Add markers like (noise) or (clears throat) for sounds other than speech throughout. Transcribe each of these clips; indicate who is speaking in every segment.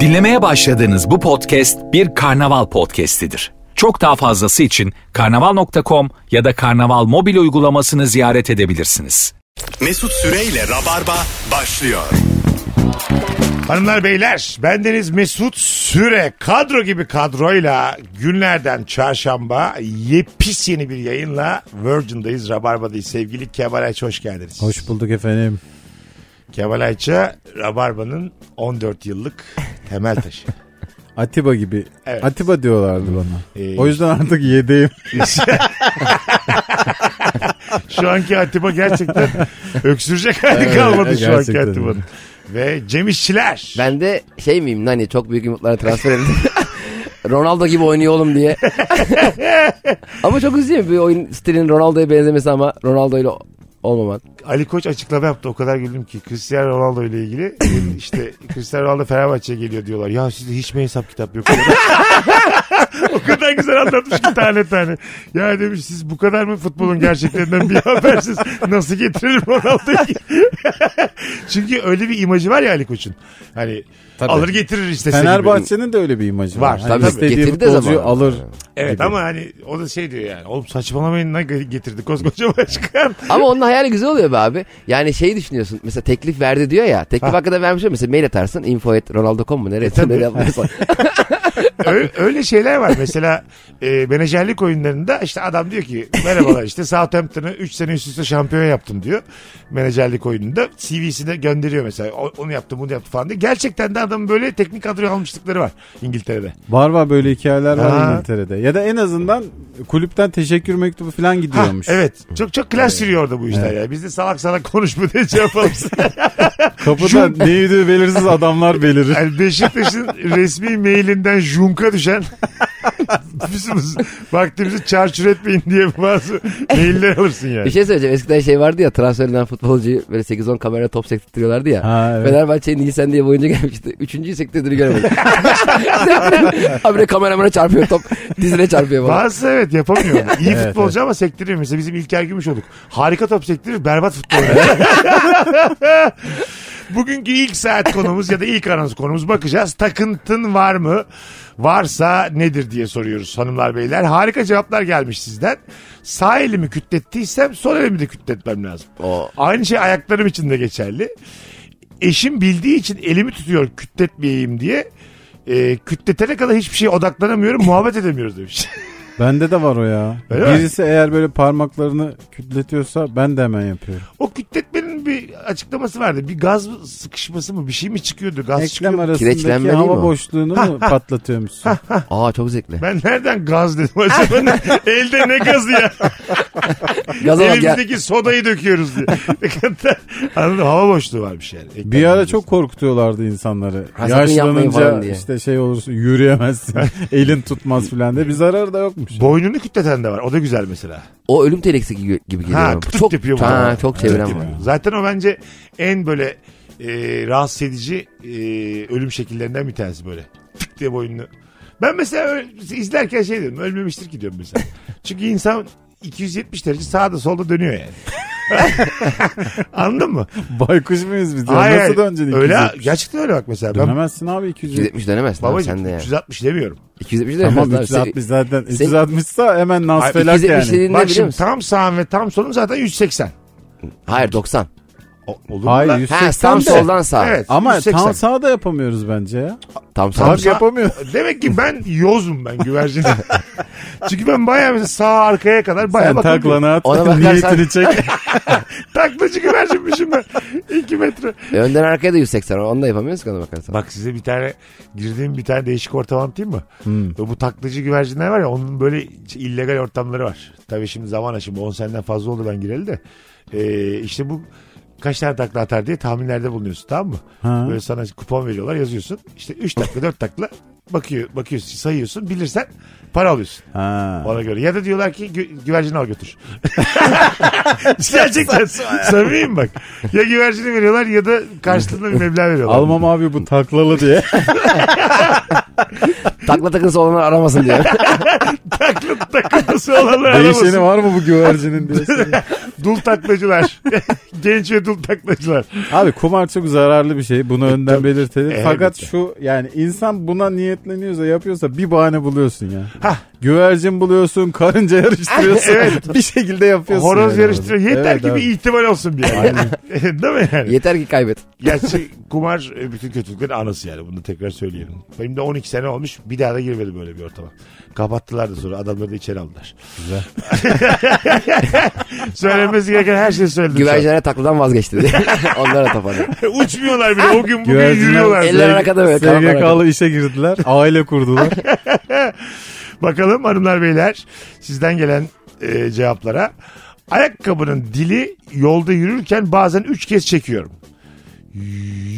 Speaker 1: Dinlemeye başladığınız bu podcast bir karnaval podcastidir. Çok daha fazlası için karnaval.com ya da karnaval mobil uygulamasını ziyaret edebilirsiniz.
Speaker 2: Mesut Süreyle Rabarba başlıyor.
Speaker 3: Hanımlar beyler bendeniz Mesut Süre kadro gibi kadroyla günlerden çarşamba yepis yeni bir yayınla Virgin'dayız Rabarba'dayız sevgili Kemal Ayça hoş geldiniz.
Speaker 4: Hoş bulduk efendim.
Speaker 3: Kemal Ayça Rabarba'nın 14 yıllık temel
Speaker 4: (laughs)
Speaker 3: taşı.
Speaker 4: Atiba gibi.
Speaker 3: Evet.
Speaker 4: Atiba diyorlardı bana.
Speaker 3: Ee,
Speaker 4: O yüzden
Speaker 3: (laughs)
Speaker 4: artık yedeyim.
Speaker 3: şu anki Atiba
Speaker 4: (laughs)
Speaker 3: gerçekten öksürecek hali kalmadı şu anki
Speaker 4: gerçekten.
Speaker 3: Atiba'nın. Ve Cem İşçiler.
Speaker 5: Ben de şey miyim Nani çok büyük umutlara transfer edildim. (laughs) Ronaldo gibi oynuyor
Speaker 4: (laughs)
Speaker 5: oğlum diye. ama çok üzücü bir oyun stilinin Ronaldo'ya benzemesi ama Ronaldo ile olmaman.
Speaker 3: Ali Koç açıklama yaptı. O kadar güldüm ki Cristiano Ronaldo ile ilgili.
Speaker 4: (laughs)
Speaker 3: işte Cristiano Ronaldo Fenerbahçe'ye geliyor diyorlar. Ya sizde hiç mi hesap kitap
Speaker 4: (laughs)
Speaker 3: yok? o kadar güzel anlatmış ki tane tane. Ya demiş siz bu kadar mı futbolun gerçeklerinden bir habersiz? Nasıl getirelim Ronaldo'yu? (laughs) Çünkü öyle bir imajı var ya Ali Koç'un. Hani
Speaker 4: Tabii.
Speaker 3: alır getirir istese gibi.
Speaker 4: Fenerbahçe'nin de öyle bir imajı var. Hani
Speaker 3: Var, tabii.
Speaker 4: istediği
Speaker 5: Getirdi de
Speaker 4: futbolcuyu
Speaker 5: zamanında.
Speaker 4: alır.
Speaker 3: Evet
Speaker 4: gibi.
Speaker 3: ama hani o da şey diyor yani. Oğlum saçmalamayın ne getirdi koskoca başkan.
Speaker 5: Ama onun hayali güzel oluyor be abi. Yani şeyi düşünüyorsun mesela teklif verdi diyor ya. Teklif hakkında vermiş oluyor. Mesela mail atarsın info at ronaldo.com mu
Speaker 4: E,
Speaker 5: nereye
Speaker 4: (laughs)
Speaker 5: nereye atmıyorsan.
Speaker 3: öyle, öyle şeyler var. Mesela e, menajerlik oyunlarında işte adam diyor ki merhabalar işte Southampton'ı 3 sene üst üste şampiyon yaptım diyor. Menajerlik oyununda CV'sine gönderiyor mesela. O- onu yaptım bunu yaptım falan diye. Gerçekten de adamın böyle teknik kadroya almışlıkları var İngiltere'de.
Speaker 4: Var var böyle hikayeler var
Speaker 3: Ha.
Speaker 4: İngiltere'de. Ya da en azından kulüpten teşekkür mektubu falan
Speaker 3: Ha,
Speaker 4: gidiyormuş.
Speaker 3: evet. Çok çok klas sürüyor orada bu işler ya. Biz de salak salak konuşma diye cevap alırsın.
Speaker 4: Kapıda ne yediği belirsiz
Speaker 3: (laughs)
Speaker 4: adamlar belirir.
Speaker 3: Yani Beşiktaş'ın resmi mailinden Junk'a düşen (laughs) bizim vaktimizi çarçur etmeyin diye bazı mailler alırsın yani.
Speaker 5: bir şey söyleyeceğim. Eskiden şey vardı ya transfer edilen futbolcuyu böyle 8-10 kamerayla top sektirtiyorlardı ya.
Speaker 4: Ha, evet.
Speaker 5: Fenerbahçe'nin Nisan diye boyunca gelmişti. Üçüncüyü sektirdiğini (laughs) göremedim. Habire kameramana çarpıyor top. Dizine çarpıyor falan.
Speaker 3: Bazısı evet
Speaker 4: (laughs)
Speaker 3: yapamıyor. onu. İyi
Speaker 4: Evet,
Speaker 3: futbolcu ama sektiriyor. Mesela bizim İlker Gümüşoluk. Harika top sektirir, berbat futbol.
Speaker 4: (laughs)
Speaker 3: oynar. (laughs) Bugünkü ilk saat konumuz ya da ilk anons konumuz bakacağız. Takıntın var mı? Varsa nedir diye soruyoruz hanımlar beyler. Harika cevaplar gelmiş sizden. Sağ elimi kütlettiysem sol elimi de kütletmem lazım.
Speaker 5: O
Speaker 3: Aynı şey ayaklarım için de geçerli. Eşim bildiği için elimi tutuyor kütletmeyeyim diye. E, kütletene kadar hiçbir şeye odaklanamıyorum, muhabbet edemiyoruz demiş.
Speaker 4: Bende de var o ya.
Speaker 3: Öyle mi?
Speaker 4: Birisi eğer böyle parmaklarını kütletiyorsa ben de hemen yapıyorum.
Speaker 3: O kütletmenin bir açıklaması vardı. Bir gaz sıkışması mı bir şey mi çıkıyordu? Gaz
Speaker 4: Eklem
Speaker 3: çıkıyor.
Speaker 4: arasındaki
Speaker 5: Kireçlenme değil mi
Speaker 4: hava
Speaker 5: o?
Speaker 4: boşluğunu mu patlatıyormuşsun?
Speaker 5: Aa çok zevkli.
Speaker 3: Ben nereden gaz dedim acaba? Elde ne gazı ya?
Speaker 5: Gaza bak ya.
Speaker 3: Elimizdeki sodayı döküyoruz diye. (laughs) Ne kadar- Anladın mı? Hava boşluğu varmış yani. Eklem
Speaker 4: Bir ara
Speaker 3: arası.
Speaker 4: çok korkutuyorlardı insanları.
Speaker 5: Ha, sakın yapmayın
Speaker 4: Yaşlanınca
Speaker 5: falan diye.
Speaker 4: işte şey olursun
Speaker 5: (laughs)
Speaker 4: yürüyemezsin. elin tutmaz filan diye. Bir zararı da yokmuş.
Speaker 3: Boynunu kütleten de var. O da güzel mesela.
Speaker 5: O ölüm teleksiki gibi geliyor.
Speaker 3: Ha,
Speaker 5: bana.
Speaker 3: tık
Speaker 5: çok
Speaker 3: yapıyor bana.
Speaker 5: ha, çok çeviren var.
Speaker 3: Zaten o bence en böyle e, rahatsız edici e, ölüm şekillerinden bir tanesi böyle. Tık diye boynunu. Ben mesela öyle- izlerken şey diyorum. Ölmemiştir ki diyorum
Speaker 5: (laughs)
Speaker 3: mesela. Çünkü insan 270 derece sağda solda dönüyor
Speaker 5: (laughs)
Speaker 3: yani. Anladın mı?
Speaker 4: Baykuş muyuz biz? ya?
Speaker 3: Hayır,
Speaker 4: Nasıl döneceksin
Speaker 3: Öyle,
Speaker 4: 270?
Speaker 3: gerçekten öyle bak mesela. Ben
Speaker 4: Dönemezsin abi 200.
Speaker 5: 270 dönemezsin abi
Speaker 3: babacığım
Speaker 5: sen de yani.
Speaker 3: 360 demiyorum.
Speaker 5: 270 dönemezsin
Speaker 4: Tamam
Speaker 5: abi.
Speaker 4: 360 zaten.
Speaker 5: Sen-
Speaker 4: 360 sa hemen
Speaker 5: Ay,
Speaker 4: nasfelak
Speaker 5: 270
Speaker 4: yani.
Speaker 5: dediğin- Ne
Speaker 3: Bak
Speaker 5: biliyor
Speaker 3: şimdi
Speaker 5: musun?
Speaker 3: tam sağın ve tam solun zaten 180.
Speaker 5: Hayır 90.
Speaker 3: O- olur mu
Speaker 4: Hayır
Speaker 3: lan?
Speaker 4: 180
Speaker 5: Ha tam
Speaker 4: de.
Speaker 5: soldan sağ.
Speaker 3: Evet,
Speaker 4: Ama
Speaker 3: 180.
Speaker 4: tam sağ da yapamıyoruz bence ya.
Speaker 5: Tam sağ.
Speaker 4: Tam
Speaker 3: sağ-
Speaker 4: yapamıyor.
Speaker 3: (laughs) Demek ki ben yozum ben güvercinim.
Speaker 4: (laughs)
Speaker 3: Çünkü ben bayağı mesela sağ arkaya kadar bayağı
Speaker 4: Sen
Speaker 3: bakıyorum.
Speaker 4: taklana at. (laughs)
Speaker 5: Ona bakarsan-
Speaker 4: Niyetini
Speaker 5: (laughs)
Speaker 4: çek.
Speaker 3: Taklacı güvercinmişim ben. (laughs) 2 metre.
Speaker 5: E, Önden arkaya da 180. Onu da yapamıyoruz ki ona bakarsan.
Speaker 3: Bak size bir tane girdiğim bir tane değişik ortam anlatayım mı?
Speaker 4: Hmm.
Speaker 3: Bu taklacı güvercinler var ya onun böyle illegal ortamları var. Tabii şimdi zaman aşımı 10 seneden fazla oldu ben gireli de. Ee, işte bu kaç tane takla atar diye tahminlerde bulunuyorsun tamam mı?
Speaker 4: Ha.
Speaker 3: Böyle sana kupon veriyorlar yazıyorsun. İşte 3 takla 4 takla bakıyor, bakıyorsun sayıyorsun bilirsen para alıyorsun.
Speaker 4: Ha.
Speaker 3: Ona göre. Ya da diyorlar ki gü- güvercini al
Speaker 4: (laughs)
Speaker 3: götür. (laughs) Gerçekten. Samimiyim bak. Ya güvercini veriyorlar ya da karşılığında bir meblağ veriyorlar. (laughs)
Speaker 4: Almam abi bu taklalı diye.
Speaker 5: Takla takınsa olanlar aramasın
Speaker 3: (laughs)
Speaker 5: diye.
Speaker 3: Takla takılması olanlar aramasın.
Speaker 4: Değişeni var mı bu güvercinin diye.
Speaker 3: Dul
Speaker 4: (laughs)
Speaker 3: taklacılar. Genç ve dul taklacılar.
Speaker 4: Abi kumar çok zararlı bir şey.
Speaker 3: E,
Speaker 4: Bunu önden belirtelim.
Speaker 3: elbette.
Speaker 4: Fakat şu yani insan buna niyetleniyorsa yapıyorsa bir bahane buluyorsun ya.
Speaker 3: Hah.
Speaker 4: Güvercin
Speaker 3: (laughs)
Speaker 4: buluyorsun, karınca yarıştırıyorsun. (laughs) Bir şekilde yapıyorsun.
Speaker 3: Horoz
Speaker 4: yani
Speaker 3: yarıştırıyor.
Speaker 4: orada.
Speaker 3: Yeter
Speaker 4: Evet
Speaker 3: ki
Speaker 4: abi.
Speaker 3: bir ihtimal olsun bir yani. (laughs) Değil mi yani?
Speaker 5: Yeter ki kaybet.
Speaker 3: Gerçi kumar e, bütün kötülüklerin anası yani. Bunu da tekrar söyleyelim. Benim de 12 sene olmuş. Bir daha da girmedi böyle bir ortama. Kapattılar da sonra. Adamları da içeri aldılar. (laughs) Güzel. Söylemesi gereken her şeyi söyledim. şu an.
Speaker 5: Güvercinlere takladan vazgeçti diye. Onlara tapanı.
Speaker 3: (laughs) Uçmuyorlar bile. O gün bugün
Speaker 4: Güvercinler-
Speaker 3: yürüyorlar.
Speaker 5: Eller arkada böyle. kanat arkada.
Speaker 4: SGK'lı
Speaker 3: (laughs)
Speaker 4: işe girdiler. Aile kurdular.
Speaker 3: Bakalım hanımlar beyler sizden gelen e, cevaplara. Ayakkabının dili yolda yürürken bazen 3 kez çekiyorum.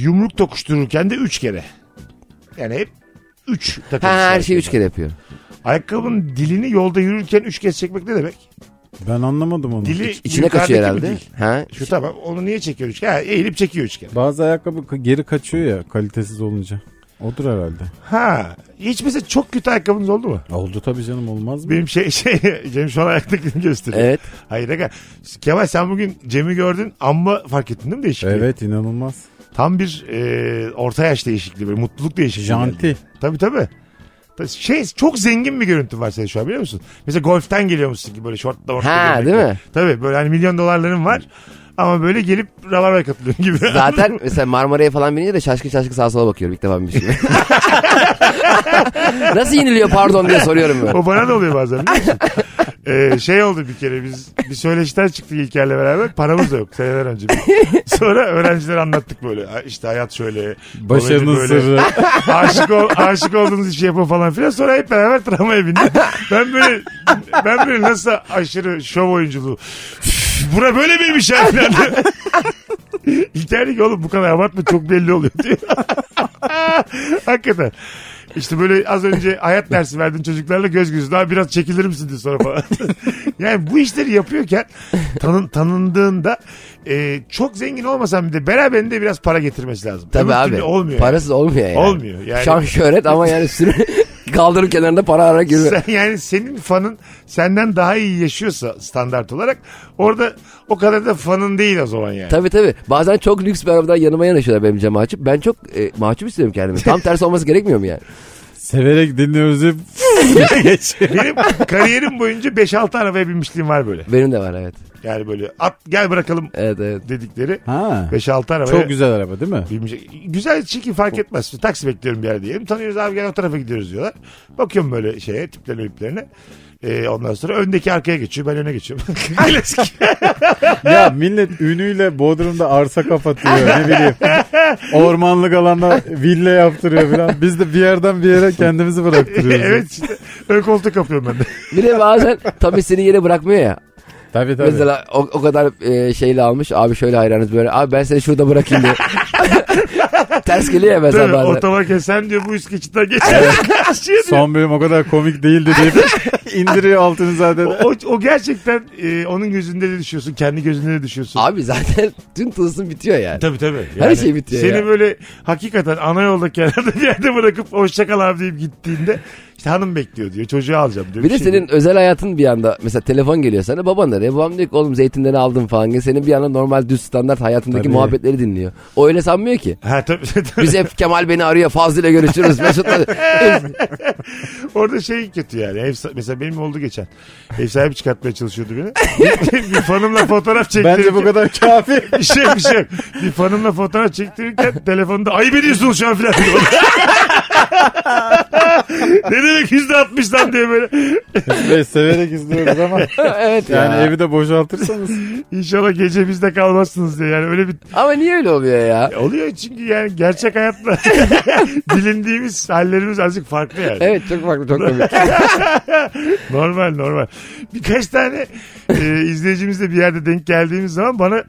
Speaker 3: Yumruk tokuştururken de 3 kere. Yani hep 3
Speaker 5: Ha, her
Speaker 3: şey.
Speaker 5: şeyi üç kere yapıyor.
Speaker 3: Ayakkabının dilini yolda yürürken 3 kez çekmek ne demek?
Speaker 4: Ben anlamadım onu.
Speaker 3: Dili
Speaker 5: İçine
Speaker 3: yukarıdaki
Speaker 5: kaçıyor
Speaker 3: mi
Speaker 5: herhalde.
Speaker 3: değil?
Speaker 5: Ha?
Speaker 3: Şu tamam onu niye çekiyor 3 kere? Ha, eğilip çekiyor 3 kere.
Speaker 4: Bazı ayakkabı ka- geri kaçıyor ya kalitesiz olunca. Odur herhalde.
Speaker 3: Ha. Hiç mesela çok kötü ayakkabınız oldu mu?
Speaker 4: Oldu tabii canım olmaz mı?
Speaker 3: Benim şey (laughs) şey Cem şu an ayaktakini gösteriyor.
Speaker 5: Evet.
Speaker 3: Hayır aga. Kemal sen bugün Cem'i gördün amma fark ettin değil mi değişikliği?
Speaker 4: Evet inanılmaz.
Speaker 3: Tam bir e, orta yaş değişikliği böyle mutluluk değişikliği.
Speaker 4: Janti.
Speaker 3: geldi. Tabii tabii. Ta- Şey çok zengin bir görüntü var senin şu an biliyor musun? Mesela golften geliyormuşsun gibi böyle şortla mortla
Speaker 5: Ha,
Speaker 3: gömlekle.
Speaker 5: değil mi?
Speaker 3: Tabii böyle hani milyon dolarların var ama böyle gelip ravarlara katılıyorsun gibi. (laughs)
Speaker 5: Zaten mesela Marmara'ya falan binince de şaşkın şaşkın sağa sola bakıyorum ilk defa bir şey. (laughs) Nasıl yeniliyor pardon diye soruyorum ben.
Speaker 3: O bana da oluyor bazen biliyor musun? (laughs) Ee, şey oldu bir kere biz bir söyleşiden çıktık İlker'le beraber paramız da yok seneler
Speaker 5: (laughs)
Speaker 3: önce. Sonra öğrencilere anlattık böyle "Ha, işte hayat şöyle.
Speaker 4: Başarının
Speaker 3: dolayı böyle (laughs)
Speaker 4: sırrı.
Speaker 3: Aşık, ol, aşık olduğunuz işi yapın falan filan. Sonra hep beraber tramvaya bindik. Ben böyle ben böyle nasıl aşırı şov oyunculuğu. Bura böyle miymiş ya filan. (laughs) İlker diyor ki oğlum bu kadar abartma çok belli oluyor (laughs) diyor. Hakikaten. İşte böyle az önce hayat dersi verdiğin çocuklarla göz göze daha biraz çekilir misin diyor sonra falan. (laughs) yani bu işleri yapıyorken tanın, tanındığında e, çok zengin olmasan bir de beraberinde biraz para getirmesi lazım.
Speaker 5: Tabii
Speaker 3: Öbür
Speaker 5: abi.
Speaker 3: türlü olmuyor.
Speaker 5: Parasız olmuyor yani.
Speaker 3: Olmuyor yani.
Speaker 5: Şan şöhret ama yani sürü (laughs) kaldırıp kenarında para alarak yürüyor.
Speaker 3: Sen, yani senin fanın senden daha iyi yaşıyorsa standart olarak orada o kadar da fanın değil o zaman yani.
Speaker 5: Tabii tabii. Bazen çok lüks bir arabadan yanıma yanaşıyorlar benim cama açıp. Ben çok e, mahcup istiyorum kendimi. Tam tersi olması gerekmiyor mu yani?
Speaker 4: Severek
Speaker 3: (laughs)
Speaker 4: dinliyoruz hep. geçiyor.
Speaker 3: Benim kariyerim boyunca 5-6 arabaya binmişliğim var böyle.
Speaker 5: Benim de var evet.
Speaker 3: Yani böyle at gel bırakalım
Speaker 5: Evet evet.
Speaker 3: dedikleri
Speaker 4: Ha.
Speaker 3: 5-6 arabaya.
Speaker 4: Çok güzel araba değil mi?
Speaker 3: binmiş- Güzel çirkin fark etmez. Şimdi Taksi bekliyorum bir yerde diyelim. Tanıyoruz abi gel o tarafa gidiyoruz diyorlar. Bakıyorum böyle şeye tiplerine iplerine. ondan sonra öndeki arkaya geçiyor ben öne geçiyorum. (laughs)
Speaker 4: (laughs)
Speaker 3: Klasik.
Speaker 4: (laughs) Ya millet ünüyle Bodrum'da arsa kapatıyor ne bileyim. (laughs) Ormanlık alanda villa yaptırıyor falan. Biz de bir yerden bir yere kendimizi bıraktırıyoruz. (laughs)
Speaker 3: evet işte ön koltuk kapıyorum ben de.
Speaker 5: Bir de bazen tam istediğin yere bırakmıyor ya.
Speaker 4: Tabii tabii.
Speaker 5: Mesela o, o kadar e, şeyle almış. Abi şöyle hayranız böyle. Abi ben seni şurada bırakayım diye. (laughs) Ters geliyor ya mesela
Speaker 3: Tabii
Speaker 5: bazen.
Speaker 3: otomakken sen diyor bu üst geçitten geçer. (laughs) Şey diyor.
Speaker 4: Son bölüm o kadar komik değildi deyip (laughs) indiriyor altını zaten.
Speaker 3: O, o- o gerçekten e, onun gözünde de düşüyorsun. Kendi gözünde de düşüyorsun.
Speaker 5: Abi zaten tüm tılsım bitiyor yani.
Speaker 3: Tabii tabii.
Speaker 5: Her şey bitiyor
Speaker 3: Seni
Speaker 5: ya.
Speaker 3: böyle hakikaten ana yolda kenarda bir yerde bırakıp hoşçakal abi deyip gittiğinde işte hanım bekliyor diyor. Çocuğu alacağım diyor.
Speaker 5: Bir de
Speaker 3: şey
Speaker 5: senin özel hayatın bir anda mesela telefon geliyor sana baban arıyor. Babam diyor ki oğlum zeytinden aldım falan. diye. Senin bir anda normal düz standart hayatındaki
Speaker 4: Tabii.
Speaker 5: muhabbetleri dinliyor. O öyle sanmıyor ki.
Speaker 3: diyor. Ha tabii. tabii.
Speaker 5: Biz hep Kemal beni arıyor Fazlı ile görüşürüz. Mesut'la.
Speaker 3: (laughs) Orada şey kötü yani. Ev, sa- mesela benim oldu geçen. Ev sahibi çıkartmaya çalışıyordu beni. (laughs) bir fanımla fotoğraf çektirirken.
Speaker 4: Bence bu kadar kafi.
Speaker 3: Bir şey bir şey. Bir fanımla fotoğraf çektirirken telefonda ayıp ediyorsunuz şu an filan (laughs) diyor. ne demek yüzde altmış lan diye böyle.
Speaker 4: (laughs) Ve severek izliyoruz ama (laughs)
Speaker 5: evet
Speaker 4: yani
Speaker 5: ya.
Speaker 4: evi de boşaltırsanız.
Speaker 3: İnşallah gece bizde kalmazsınız diye. Yani öyle bir
Speaker 5: Ama niye öyle oluyor ya?
Speaker 3: E, Oluyor çünkü yani gerçek (laughs) hayatla bilindiğimiz hallerimiz azıcık farklı yani.
Speaker 5: Evet çok farklı
Speaker 3: (laughs)
Speaker 5: çok komik.
Speaker 3: Normal normal. Birkaç tane e, izleyicimizle bir yerde denk geldiğimiz zaman bana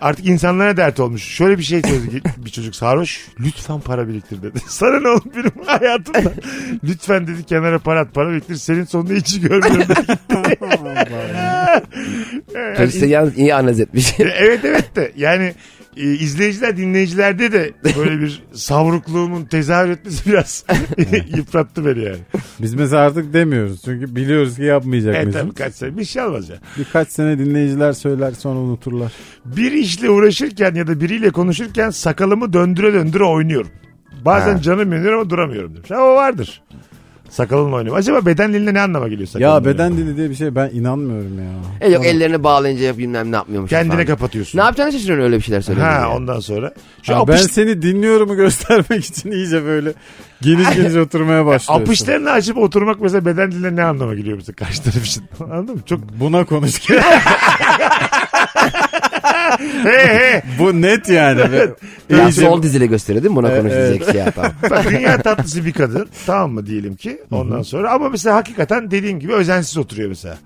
Speaker 3: artık insanlara dert olmuş. Şöyle bir şey söyledi ki, bir çocuk sarhoş. Lütfen para biriktir dedi. (laughs) Sana ne oğlum benim hayatımda. Lütfen dedi kenara para at para biriktir. Senin sonunu hiç görmüyorum. dedi. Yani
Speaker 5: Çocuk seni yalnız iyi analiz etmiş.
Speaker 3: (laughs) E, evet evet de yani e, izleyiciler dinleyicilerde de böyle bir
Speaker 4: (laughs)
Speaker 3: savrukluğumun tezahür etmesi biraz (laughs) yıprattı beni yani.
Speaker 4: Biz mesela artık demiyoruz. Çünkü biliyoruz ki yapmayacak
Speaker 3: Evet
Speaker 4: bizim.
Speaker 3: E, tabii kaç sene bir şey almaz ya.
Speaker 4: Birkaç sene dinleyiciler söyler sonra unuturlar.
Speaker 3: Bir işle uğraşırken ya da biriyle konuşurken sakalımı döndüre döndüre oynuyorum. Bazen canım yanıyor ama duramıyorum demiş. Ama o vardır. Sakalınla oynuyorum. Acaba beden diline ne anlama geliyor sakalınla?
Speaker 4: Ya
Speaker 3: oynamak?
Speaker 4: beden dili diye bir şey ben inanmıyorum ya.
Speaker 5: E yok ellerini bağlayınca yap bilmem ne yapmıyormuş.
Speaker 3: Kendine
Speaker 5: falan.
Speaker 3: kapatıyorsun.
Speaker 5: Ne yapacağını şaşırıyorsun öyle bir şeyler söylüyor.
Speaker 3: Ha ondan sonra. Şu
Speaker 4: Ya ben
Speaker 3: apış,
Speaker 4: seni dinliyorumu (laughs) göstermek için iyice böyle geniş geniş oturmaya başlıyorsun.
Speaker 3: apışlarını açıp oturmak mesela beden diline ne anlama geliyor mesela karşı taraf için. (laughs) Anladın mı? Çok
Speaker 4: Buna konuş.
Speaker 3: (laughs) he he.
Speaker 4: Bu
Speaker 3: (laughs)
Speaker 4: net yani.
Speaker 5: Ya
Speaker 4: İyice-
Speaker 5: sol diziyle gösteriyor değil mi? Buna
Speaker 3: E,
Speaker 4: Evet,
Speaker 5: konuşacak şey
Speaker 3: (laughs)
Speaker 5: yapalım.
Speaker 3: Bak, dünya tatlısı bir kadın tamam mı diyelim ki ondan sonra ama mesela hakikaten dediğin gibi özensiz oturuyor mesela.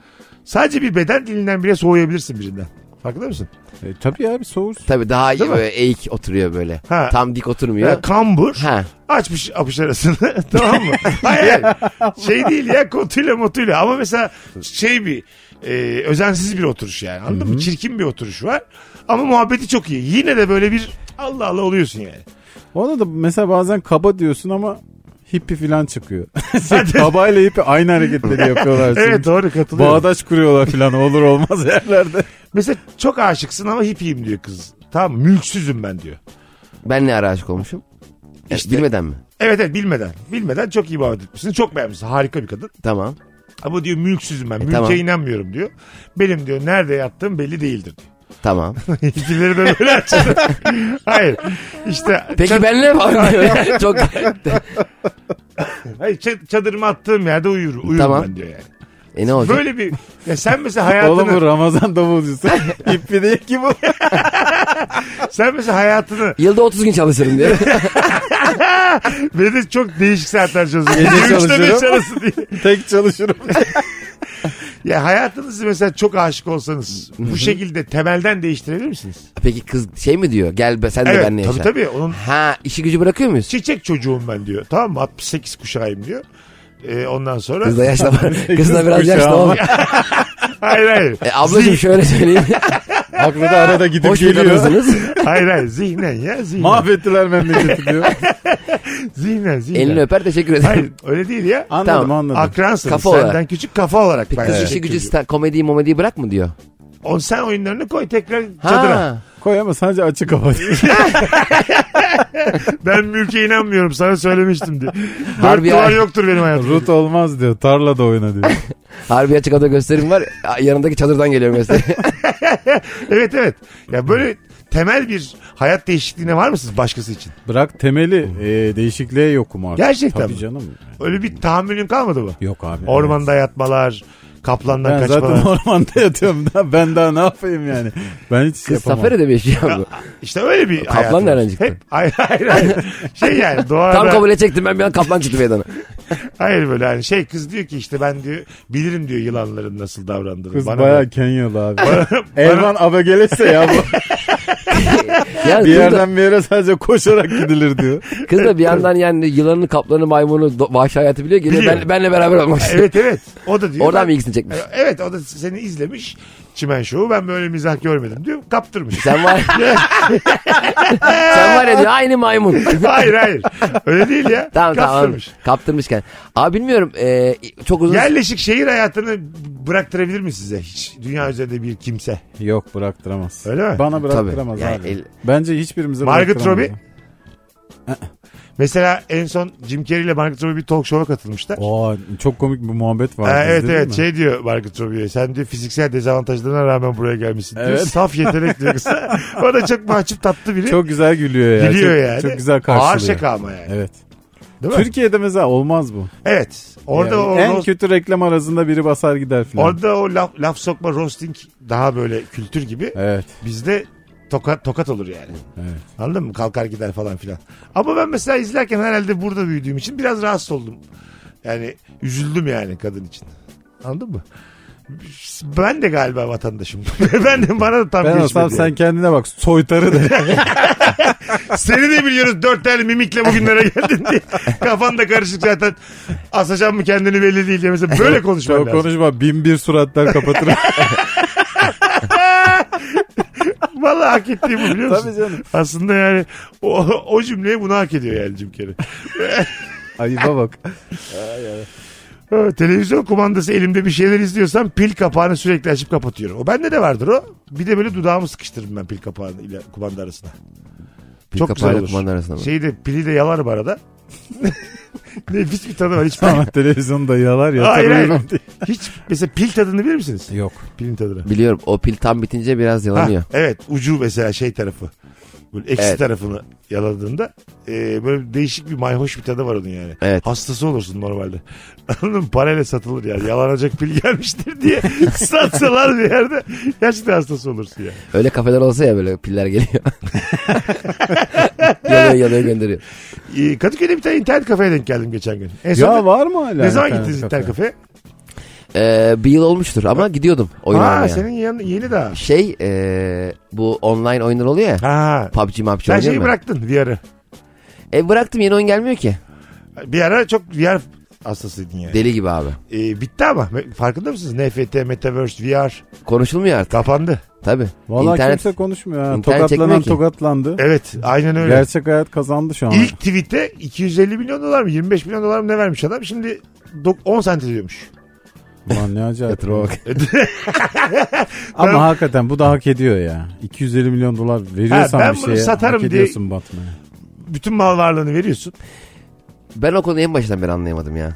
Speaker 3: Sadece bir beden dilinden bile soğuyabilirsin birinden. Farkında mısın?
Speaker 4: E, tabii abi soğursun.
Speaker 5: Tabii daha iyi
Speaker 3: Değil mi?
Speaker 5: böyle eğik oturuyor böyle.
Speaker 3: Ha.
Speaker 5: Tam dik oturmuyor.
Speaker 3: Ya, kambur
Speaker 5: Ha.
Speaker 3: açmış apış arasını (laughs) tamam
Speaker 5: (laughs)
Speaker 3: mı? Hayır hayır. şey değil ya kotuyla motuyla ama mesela şey bir e, özensiz bir oturuş yani anladın mı? Çirkin bir oturuş var ama muhabbeti çok iyi. Yine de böyle bir Allah Allah oluyorsun yani.
Speaker 4: Ona da mesela bazen kaba diyorsun ama hippi falan çıkıyor. (laughs) şey, kaba ile hippi aynı hareketleri yapıyorlar. Şimdi
Speaker 3: (laughs) Evet doğru katılıyorum.
Speaker 4: Bağdaş kuruyorlar falan olur olmaz (laughs) yerlerde.
Speaker 3: Mesela çok aşıksın ama hippiyim diyor kız. Tamam mülksüzüm ben diyor.
Speaker 5: Ben ne ara aşık olmuşum? E, Bilmeden mi?
Speaker 3: Evet evet bilmeden. Bilmeden çok iyi muhabbet etmişsin. Çok beğenmişsin. Harika bir kadın.
Speaker 5: Tamam.
Speaker 3: Ama diyor mülksüzüm ben. Mülke
Speaker 5: E, tamam.
Speaker 3: inanmıyorum diyor. Benim diyor nerede yattığım belli değildir diyor.
Speaker 5: Tamam.
Speaker 3: İlgileri de böyle açıldı. Hayır. İşte
Speaker 5: (laughs) Peki
Speaker 3: çad-
Speaker 5: ben ne falan diyor. (laughs) Çok
Speaker 3: hayır, çad- çadırımı attığım yerde uyur, uyurum
Speaker 5: Tamam.
Speaker 3: ben diyor yani.
Speaker 5: E ne olacak?
Speaker 3: Böyle bir ya sen mesela hayatını
Speaker 4: Oğlum bu
Speaker 3: (laughs)
Speaker 4: Ramazan davulcusu. hippi değil ki bu.
Speaker 3: sen mesela hayatını
Speaker 5: Yılda 30 gün çalışırım diyor.
Speaker 3: ve de çok değişik saatler çözüyorsun.
Speaker 4: Gece
Speaker 3: 23'te 5
Speaker 4: çalışıyorum.
Speaker 3: arası diye. (laughs)
Speaker 4: Tek çalışırım.
Speaker 3: Ya hayatınızı mesela çok aşık olsanız bu şekilde temelden değiştirebilir misiniz?
Speaker 5: Peki kız şey mi diyor? Gel be, sen de benimle
Speaker 3: Evet
Speaker 5: yaşa.
Speaker 3: tabii tabii. Onun
Speaker 5: Ha işi gücü bırakıyor muyuz?
Speaker 3: çiçek çocuğum ben diyor. Tamam mı? 68 kuşağıyım diyor. Ee, ondan sonra
Speaker 5: Kız da yaşlı var. (laughs) Kız da biraz
Speaker 4: Kuşağı
Speaker 5: yaşlı
Speaker 4: var.
Speaker 5: ol.
Speaker 3: hayır hayır.
Speaker 5: E, ablacığım şöyle söyleyeyim.
Speaker 4: Aklı da arada gidip
Speaker 5: Hoş bir
Speaker 4: geliyor.
Speaker 5: kadınsınız.
Speaker 3: (laughs) hayır hayır zihnen ya zihnen.
Speaker 4: Mahvettiler memleketi diyor.
Speaker 3: zihnen zihnen.
Speaker 5: Elini öper teşekkür
Speaker 3: Hayır
Speaker 5: ederim.
Speaker 3: öyle değil ya.
Speaker 4: Anladım
Speaker 5: Tamam.
Speaker 4: anladım.
Speaker 3: Akransın
Speaker 5: Kafa
Speaker 3: senden
Speaker 5: olarak.
Speaker 3: küçük kafa olarak.
Speaker 5: Peki
Speaker 3: ben
Speaker 5: kız
Speaker 3: yani.
Speaker 5: işi gücü sta- komediyi momediyi bırak mı diyor.
Speaker 3: On sen oyunlarını koy tekrar çadıra.
Speaker 5: Ha.
Speaker 4: Koy ama sadece açık kapat.
Speaker 3: (laughs) Ben mülke inanmıyorum sana söylemiştim
Speaker 5: (laughs)
Speaker 3: diye. Dört
Speaker 5: Harbi
Speaker 3: duvar
Speaker 5: ya.
Speaker 3: yoktur benim hayatımda.
Speaker 4: Rut olmaz diyor. Tarla da oyna diyor.
Speaker 5: Harbi açık havada gösterim var. Yanındaki çadırdan geliyorum mesela.
Speaker 3: Evet evet. Ya böyle temel bir hayat değişikliğine var mısınız başkası için?
Speaker 4: Bırak temeli e, değişikliğe yokum artık.
Speaker 3: Gerçekten
Speaker 4: Tabii
Speaker 3: mi?
Speaker 4: canım.
Speaker 3: Öyle bir tahammülün kalmadı mı?
Speaker 4: Yok abi.
Speaker 3: Ormanda yatmalar, kaplandan
Speaker 4: Ben
Speaker 3: kaçmalar.
Speaker 4: zaten ormanda (laughs) yatıyorum. Daha, ben daha ne yapayım yani? Ben hiç
Speaker 5: Kız
Speaker 4: yapamam.
Speaker 5: safari de şey mi yaşıyor bu?
Speaker 3: İşte öyle bir
Speaker 5: Kaplan
Speaker 3: hayatım var.
Speaker 5: nereden çıktı?
Speaker 3: Hep, hayır hayır
Speaker 5: (laughs)
Speaker 3: hayır. Şey yani doğada.
Speaker 5: Tam kabul edecektim ben bir an kaplan çıktı meydana.
Speaker 3: Hayır böyle hani şey kız diyor ki işte ben diyor bilirim diyor yılanların nasıl davrandığını.
Speaker 4: Kız
Speaker 3: bana
Speaker 4: bayağı
Speaker 3: da-
Speaker 4: Kenyalı abi. (laughs) Elvan Abegeles'e
Speaker 3: (laughs)
Speaker 4: ya bu. bir
Speaker 5: Yani kız da-
Speaker 4: yerden bir yere sadece koşarak gidilir diyor.
Speaker 5: Kız da bir yandan yani yılanı, kaplanı, maymunu, do- vahşi hayatı biliyor. Geliyor
Speaker 3: Biliyor.
Speaker 5: ben, benle beraber
Speaker 3: (laughs)
Speaker 5: olmak istiyor.
Speaker 3: Evet evet. O da diyor.
Speaker 5: Oradan mı
Speaker 3: ben-
Speaker 5: ilgisini çekmiş?
Speaker 3: Evet o da seni izlemiş. Çimen Show'u ben böyle mizah görmedim diyor. Kaptırmış.
Speaker 5: Sen var. Sen var ya diyor,
Speaker 3: (laughs)
Speaker 5: aynı maymun.
Speaker 3: (laughs) hayır hayır. Öyle değil ya.
Speaker 5: tamam tamam.
Speaker 3: Kaptırmış.
Speaker 5: Kaptırmışken. Abi bilmiyorum e, çok uzun.
Speaker 3: Yerleşik şehir hayatını bıraktırabilir mi size hiç? Dünya üzerinde bir kimse.
Speaker 4: Yok bıraktıramaz.
Speaker 3: Öyle mi?
Speaker 4: Bana
Speaker 5: Tabii.
Speaker 4: bıraktıramaz
Speaker 5: Yani
Speaker 4: abi.
Speaker 5: el-
Speaker 4: Bence hiçbirimize
Speaker 3: Margaret
Speaker 4: bıraktıramaz.
Speaker 3: Robbie. Mesela en son Jim Carrey ile Margaret Robbie bir talk show'a katılmışlar.
Speaker 4: Aa, çok komik bir muhabbet var.
Speaker 3: Ha, evet
Speaker 4: izledin
Speaker 3: evet
Speaker 4: mi?
Speaker 3: şey diyor Margaret Robbie'ye sen diyor fiziksel dezavantajlarına rağmen buraya gelmişsin diyor.
Speaker 4: Evet.
Speaker 3: Saf yetenek diyor
Speaker 4: (laughs)
Speaker 3: kız. o da çok mahcup tatlı biri.
Speaker 4: Çok güzel gülüyor ya.
Speaker 3: Gülüyor
Speaker 4: çok,
Speaker 3: yani.
Speaker 4: Çok güzel karşılıyor.
Speaker 3: Ağır şaka ama yani.
Speaker 4: Evet.
Speaker 3: Değil mi?
Speaker 4: Türkiye'de mesela olmaz bu.
Speaker 3: Evet. Orada
Speaker 4: Yani
Speaker 3: o
Speaker 4: en
Speaker 3: roast-
Speaker 4: kötü reklam arasında biri basar gider filan.
Speaker 3: orada o laf, laf sokma roasting daha böyle kültür gibi.
Speaker 4: Evet.
Speaker 3: Bizde tokat tokat olur yani.
Speaker 4: Evet.
Speaker 3: Anladın mı? Kalkar gider falan filan. Ama ben mesela izlerken herhalde burada büyüdüğüm için biraz rahatsız oldum. Yani üzüldüm yani kadın için. Anladın mı? Ben de galiba vatandaşım. (laughs) ben de bana da tam
Speaker 4: Ben
Speaker 3: geçmedi.
Speaker 4: olsam sen
Speaker 3: yani.
Speaker 4: kendine bak soytarı
Speaker 3: (laughs)
Speaker 4: da.
Speaker 3: Seni de biliyoruz dört tane mimikle bugünlere geldin
Speaker 4: (laughs)
Speaker 3: diye. Kafan da karışık zaten. Asacağım mı kendini belli değil diye. Mesela böyle konuşman
Speaker 4: Çok
Speaker 3: lazım. (laughs)
Speaker 4: konuşma bin bir suratlar kapatır.
Speaker 3: Vallahi hak ettiği bu biliyor musun?
Speaker 4: Tabii canım.
Speaker 3: Aslında yani o, o cümleye bunu hak ediyor yani Jim Carrey.
Speaker 4: (laughs) Ayıba bak.
Speaker 3: Ha, Televizyon kumandası elimde bir şeyler izliyorsam pil kapağını sürekli açıp kapatıyorum. O bende de vardır o. Bir de böyle dudağımı sıkıştırırım ben pil kapağını ile kumanda arasına.
Speaker 5: Pil
Speaker 3: Çok güzel
Speaker 5: kapağıyla
Speaker 3: olur. Şey-
Speaker 5: kumanda arasında mı?
Speaker 3: Şeyi de pili de yalarım arada. (laughs) Nefis bir tadı var. Hiç,
Speaker 4: Ama televizyonda yalar ya.
Speaker 3: Hayır,
Speaker 4: tabii
Speaker 3: hayır.
Speaker 4: bilmem diye.
Speaker 3: hiç mesela pil tadını bilir misiniz?
Speaker 4: Yok.
Speaker 3: Pilin tadını.
Speaker 5: Biliyorum o pil tam bitince biraz
Speaker 3: Ha,
Speaker 5: yalanıyor.
Speaker 3: evet ucu mesela şey tarafı. Böyle eksi
Speaker 5: Evet.
Speaker 3: tarafını yaladığında e, böyle değişik bir mayhoş bir tadı var onun yani.
Speaker 5: Evet.
Speaker 3: Hastası olursun normalde. (laughs) Anladın mı? Parayla satılır yani. Yalanacak pil gelmiştir diye (laughs) satsalar bir yerde gerçekten hastası olursun yani.
Speaker 5: Öyle kafeler olsa ya böyle
Speaker 3: (laughs)
Speaker 5: piller geliyor. yanıyor yanıyor gönderiyor.
Speaker 3: E, Kadıköy'de bir tane internet kafeye denk geldim geçen gün. En son
Speaker 4: Ya var mı hala?
Speaker 3: ne zaman
Speaker 4: internet
Speaker 3: gittiniz internet
Speaker 4: kafe?
Speaker 3: kafeye?
Speaker 5: Ee, bir yıl olmuştur ama gidiyordum oyun
Speaker 3: Ha
Speaker 5: oynamaya.
Speaker 3: senin yan, yeni daha.
Speaker 5: Şey ee, bu online oyunlar oluyor ya.
Speaker 3: Ha.
Speaker 5: PUBG mapçı
Speaker 3: Sen
Speaker 5: oynuyor
Speaker 3: şeyi
Speaker 5: mu?
Speaker 3: bıraktın bir ara.
Speaker 5: E bıraktım yeni oyun gelmiyor ki.
Speaker 3: Bir ara çok VR hastasıydın yani.
Speaker 5: Deli gibi abi.
Speaker 3: E, bitti ama farkında mısınız? NFT, Metaverse, VR
Speaker 5: Konuşulmuyor artık.
Speaker 3: kapandı.
Speaker 5: Tabii.
Speaker 4: Valla
Speaker 5: İnternet-
Speaker 4: kimse konuşmuyor. Ha.
Speaker 5: İnternet
Speaker 4: Tokatlanan
Speaker 5: çekmiyor ki.
Speaker 4: tokatlandı.
Speaker 3: Evet aynen öyle.
Speaker 4: Gerçek hayat kazandı şu an.
Speaker 3: İlk tweet'e 250 milyon dolar mı 25 milyon dolar mı ne vermiş adam şimdi dok- 10 sent ediyormuş.
Speaker 4: Ulan ne acayip.
Speaker 3: (laughs)
Speaker 5: Yatırıma bak.
Speaker 4: Ama
Speaker 3: Ben-
Speaker 4: hakikaten bu da hak ediyor ya. 250 milyon dolar veriyorsan
Speaker 3: Ha, ben
Speaker 4: bir
Speaker 3: bunu
Speaker 4: şeye
Speaker 3: satarım
Speaker 4: hak
Speaker 3: diye-
Speaker 4: ediyorsun batmaya.
Speaker 3: Bütün mal varlığını veriyorsun
Speaker 5: Ben o konuyu en baştan beri anlayamadım ya.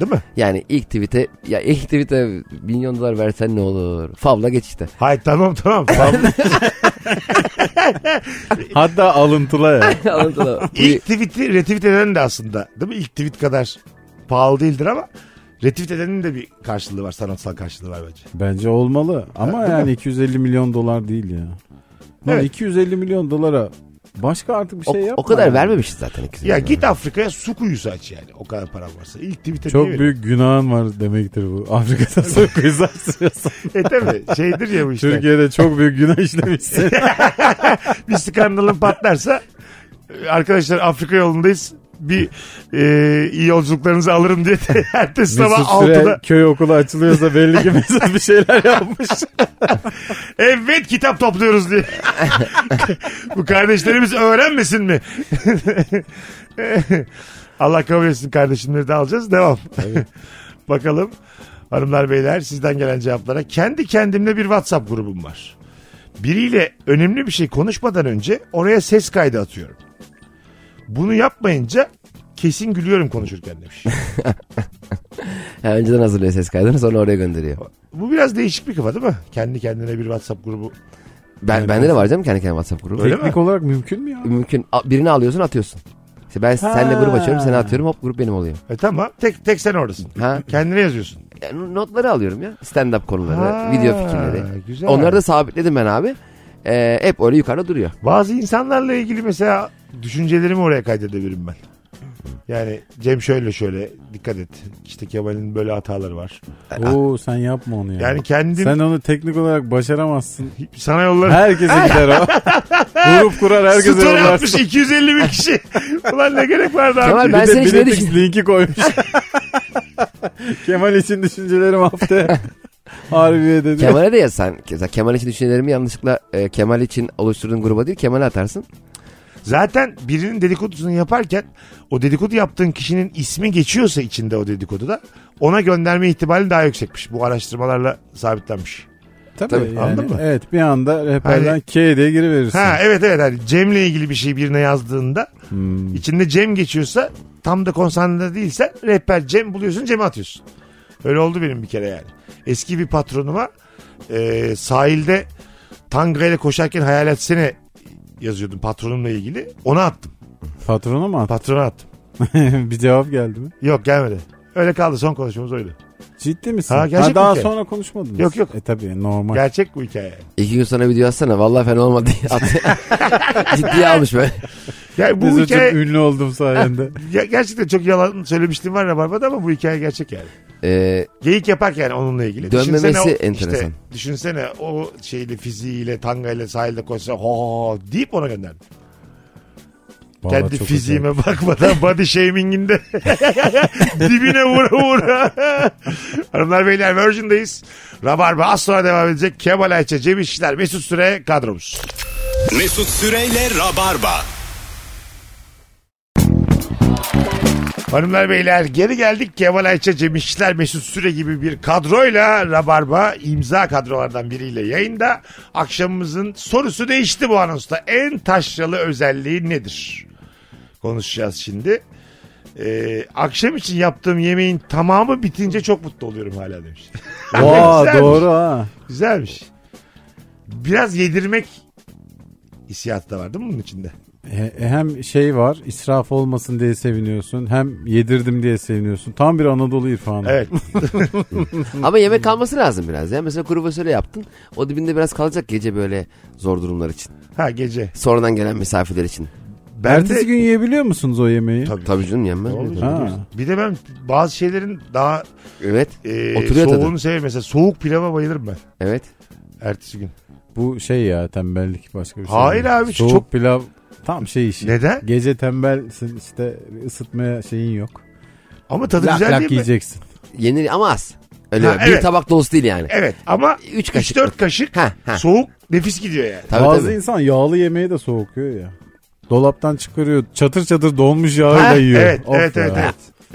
Speaker 3: değil mi?
Speaker 5: Yani ilk tweet'e ya ilk tweet'e milyon dolar versen ne olur? Favla geç işte.
Speaker 3: Hayır tamam tamam.
Speaker 4: (laughs)
Speaker 3: tamam.
Speaker 4: Hatta alıntıla
Speaker 3: (laughs)
Speaker 4: ya.
Speaker 5: (laughs) Anladın
Speaker 3: İlk tweet'i retweet eden de aslında değil mi? İlk tweet kadar pahalı değildir ama retweet edenin de bir karşılığı var sanatsal karşılığı var bence.
Speaker 4: Bence olmalı. Ama
Speaker 3: değil
Speaker 4: yani 250 milyon dolar değil ya. Lan
Speaker 3: Evet.
Speaker 4: 250 milyon dolara başka artık bir
Speaker 5: o,
Speaker 4: şey yapma.
Speaker 5: o kadar
Speaker 4: yani.
Speaker 5: vermemişiz zaten ikisi.
Speaker 3: Ya git Afrika'ya su kuyusu aç yani o kadar paran varsa. İlk tweet'e
Speaker 4: Çok
Speaker 3: niye
Speaker 4: büyük günahın var demektir bu. (laughs) Afrika'da su kızarsıyorsan.
Speaker 3: veriyorsun? E tabii şeydir ya bu işte.
Speaker 4: Türkiye'de çok büyük günah işlemişsin.
Speaker 3: (laughs) bir skandalın patlarsa e, arkadaşlar Afrika yolundayız bir e, iyi yolculuklarınızı alırım diye (laughs) ertesi sabah
Speaker 4: Mesut Süre
Speaker 3: 6'da
Speaker 4: köy okulu açılıyorsa belli ki Mesut bir şeyler yapmış.
Speaker 3: (laughs) evet kitap topluyoruz diye. Bu kardeşlerimiz öğrenmesin mi? (laughs) Allah kabul etsin kardeşimleri de alacağız. Devam. Bakalım hanımlar beyler sizden gelen cevaplara. Kendi kendimle bir WhatsApp grubum var. Biriyle önemli bir şey konuşmadan önce oraya ses kaydı atıyorum. Bunu yapmayınca kesin gülüyorum konuşurken demiş.
Speaker 5: Ha, önceden hazırlıyor ses kaydını sonra oraya gönderiyor.
Speaker 3: Bu biraz değişik bir kafa değil mi? Kendi kendine bir WhatsApp grubu.
Speaker 5: Ben
Speaker 4: Yani
Speaker 5: bende de var canım kendi kendine WhatsApp grubu.
Speaker 3: Öyle
Speaker 4: Teknik olarak mümkün mü ya?
Speaker 5: Mümkün. A- Birini alıyorsun atıyorsun. İşte ben seninle grup açıyorum seni atıyorum hop grup benim oluyor.
Speaker 3: E tamam tek tek sen oradasın.
Speaker 5: Ha.
Speaker 3: Kendine yazıyorsun.
Speaker 5: Ya, n- notları alıyorum ya. Stand up konuları,
Speaker 3: Ha,
Speaker 5: video fikirleri.
Speaker 3: Güzel.
Speaker 5: Onları da sabitledim ben abi. Ee, hep öyle yukarıda duruyor.
Speaker 3: Bazı insanlarla ilgili mesela düşüncelerimi oraya kaydedebilirim ben. Yani Cem şöyle şöyle dikkat et. İşte Kemal'in böyle hataları var.
Speaker 4: (laughs) Oo sen yapma onu ya.
Speaker 3: Yani kendim
Speaker 4: Sen onu teknik olarak başaramazsın.
Speaker 3: sana yollarım.
Speaker 4: Herkese gider o. Grup kurar herkese
Speaker 3: Story
Speaker 4: yollarsın.
Speaker 3: atmış 250 bin
Speaker 5: (laughs)
Speaker 3: kişi. Ulan ne gerek vardı abi.
Speaker 5: Kemal ben
Speaker 4: Bir de
Speaker 5: seni hiç ne
Speaker 4: Biletix
Speaker 5: düşün-
Speaker 4: linki koymuş. (laughs) Kemal için düşüncelerim (laughs) haftaya. Harbiye dedi.
Speaker 5: Kemal'e de yazsan. Mesela Kemal için düşüncelerimi yanlışlıkla e, Kemal için oluşturduğun gruba değil Kemal'e atarsın.
Speaker 3: Zaten birinin dedikodusunu yaparken o dedikodu yaptığın kişinin ismi geçiyorsa içinde o dedikoduda ona gönderme ihtimali daha yüksekmiş. Bu araştırmalarla sabitlenmiş.
Speaker 4: Tabii,
Speaker 5: Tabii,
Speaker 4: yani,
Speaker 3: anladın mı?
Speaker 4: Evet bir anda rehberden
Speaker 3: Hani-
Speaker 4: K diye giriverirsin.
Speaker 3: Ha evet evet hani Cem'le ilgili bir şey birine yazdığında
Speaker 4: Hmm.
Speaker 3: İçinde Cem geçiyorsa tam da konsantre değilsen rehber Cem buluyorsun Cem'e atıyorsun. Öyle oldu benim bir kere yani. Eski bir patronuma e, sahilde tanga ile koşarken hayal etsene yazıyordum patronumla ilgili. Ona attım.
Speaker 4: Patrona mı attın?
Speaker 3: Patrona attım.
Speaker 4: (laughs) bir cevap geldi mi?
Speaker 3: Yok gelmedi. Öyle kaldı son konuşmamız oydu.
Speaker 4: Ciddi misin?
Speaker 3: Ha,
Speaker 4: Ha,
Speaker 3: gerçek
Speaker 4: daha
Speaker 3: mi ki?
Speaker 4: sonra konuşmadınız.
Speaker 3: Yok, yok.
Speaker 4: E tabii normal.
Speaker 3: Gerçek bu hikaye.
Speaker 5: İki gün sonra video atsana. Vallahi fena olmadı. At-
Speaker 3: (laughs)
Speaker 5: Ciddiye almış böyle.
Speaker 3: Yani bu
Speaker 4: Mesut'cum
Speaker 3: hikaye
Speaker 4: ünlü oldum sayende.
Speaker 3: Ya gerçekten çok yalan söylemiştim var Rabarba'da ama bu hikaye gerçek yani.
Speaker 5: Ee,
Speaker 3: Geyik yaparken onunla ilgili.
Speaker 5: Dönmemesi
Speaker 3: Düşünsene o-
Speaker 5: enteresan.
Speaker 3: düşünsene o şeyle fiziğiyle tangayla sahilde koşsa ho ho ho deyip ona gönderdim. (laughs)
Speaker 4: Vallahi
Speaker 3: Kendi
Speaker 4: çok
Speaker 3: fiziğime bakmadan body
Speaker 4: (laughs)
Speaker 3: shaming'inde dibine vura vura. Hanımlar beyler Virgin'dayız. Rabarba az sonra devam edecek. Kemal Ayça, Cem İşçiler, Mesut Süre kadromuz.
Speaker 2: Mesut Süreyle Rabarba.
Speaker 3: Hanımlar beyler geri geldik. Kemal Ayça, Cem İşçiler, Mesut Süre gibi bir kadroyla Rabarba imza kadrolardan biriyle yayında. Akşamımızın sorusu değişti bu anonsta. En taşralı özelliği nedir? Konuşacağız şimdi. Ee, akşam için yaptığım yemeğin tamamı bitince çok mutlu oluyorum hala demiş. (laughs)
Speaker 4: güzel. (laughs) Vaa
Speaker 3: Güzelmiş.
Speaker 4: doğru ha.
Speaker 3: Güzelmiş. Biraz yedirmek hissiyatı da var değil mi bunun içinde?
Speaker 4: He- Hem şey var israf olmasın diye seviniyorsun hem yedirdim diye seviniyorsun. Tam bir Anadolu irfanı.
Speaker 3: Evet.
Speaker 5: Ama yemek kalması lazım biraz ya. Mesela kuru fasulye yaptın. O dibinde biraz kalacak gece böyle zor durumlar için.
Speaker 3: Ha gece.
Speaker 5: Sonradan gelen misafirler için.
Speaker 3: Ben
Speaker 4: Ertesi
Speaker 3: de-
Speaker 4: gün yiyebiliyor musunuz o yemeği?
Speaker 3: Tabii.
Speaker 5: Tabii canım yenmez
Speaker 3: Ne
Speaker 5: mi?
Speaker 3: olacak?
Speaker 4: Ha.
Speaker 3: Bir de ben bazı şeylerin daha
Speaker 5: Evet.
Speaker 3: e,
Speaker 5: Oturuyor tadı.
Speaker 3: soğuğunu severim. Mesela soğuk pilava bayılırım ben.
Speaker 5: Evet.
Speaker 3: Ertesi gün.
Speaker 4: Bu şey ya tembellik başka bir şey.
Speaker 3: Hayır
Speaker 4: değil.
Speaker 3: abi, şu
Speaker 4: Soğuk
Speaker 3: çok-
Speaker 4: pilav tam şey işi.
Speaker 3: Neden?
Speaker 4: Gece tembelsin işte ısıtmaya şeyin yok.
Speaker 3: Ama tadı
Speaker 4: lak
Speaker 3: güzel
Speaker 4: lak
Speaker 3: değil mi?
Speaker 4: yiyeceksin.
Speaker 5: Yenir ama az. Öyle
Speaker 3: Ha,
Speaker 5: bir
Speaker 3: evet.
Speaker 5: tabak dolusu değil yani.
Speaker 3: Evet ama
Speaker 5: Üç kaşık.
Speaker 3: 3-4 kaşık
Speaker 5: Ha, ha.
Speaker 3: soğuk nefis gidiyor yani.
Speaker 5: Tabii
Speaker 4: Bazı
Speaker 5: tabii.
Speaker 4: insan yağlı yemeği de soğukuyor ya. Dolaptan çıkarıyor. Çatır çatır donmuş yağıyla
Speaker 3: Ha,
Speaker 4: yiyor.
Speaker 3: evet,
Speaker 4: Of
Speaker 3: evet,
Speaker 4: ya.
Speaker 3: evet, evet.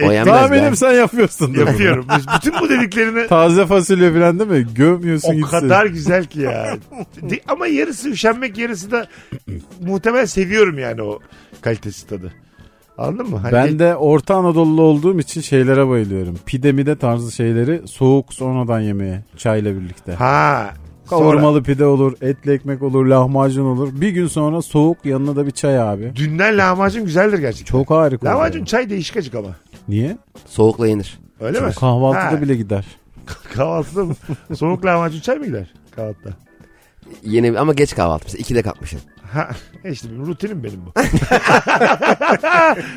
Speaker 5: O yenmez
Speaker 4: Daha
Speaker 5: be.
Speaker 4: benim sen yapıyorsun. da bunu.
Speaker 3: Yapıyorum. Biz bütün bu
Speaker 4: (laughs)
Speaker 3: dediklerini
Speaker 4: Taze fasulye falan değil mi? Gömüyorsun
Speaker 3: o
Speaker 4: gitsin.
Speaker 3: kadar güzel ki ya. De- ama yarısı üşenmek yarısı da (clears throat) muhtemel seviyorum yani o kalitesi tadı. Anladın mı? Hani
Speaker 4: Ben de Orta Anadolu olduğum için şeylere bayılıyorum. Pide mide tarzı şeyleri soğuk sonradan yemeye çayla birlikte.
Speaker 3: Ha.
Speaker 4: Kavurmalı pide olur, etli ekmek olur, lahmacun olur. Bir gün sonra soğuk yanına da bir çay abi.
Speaker 3: Sonra, dünden lahmacun güzeldir gerçekten.
Speaker 4: Çok harika. olur
Speaker 3: lahmacun
Speaker 4: ya.
Speaker 3: çay değişik acık ama.
Speaker 4: Niye?
Speaker 5: Soğukla yenir.
Speaker 3: Öyle mi?
Speaker 4: Kahvaltıda
Speaker 3: Ha.
Speaker 4: bile gider.
Speaker 3: (laughs) Kahvaltıda mı? Soğuk lahmacun çay mı gider kahvaltıda?
Speaker 5: Yeni ama geç kahvaltı. Mesela ikide kalkmışsın.
Speaker 3: Ha, işte benim rutinim benim bu.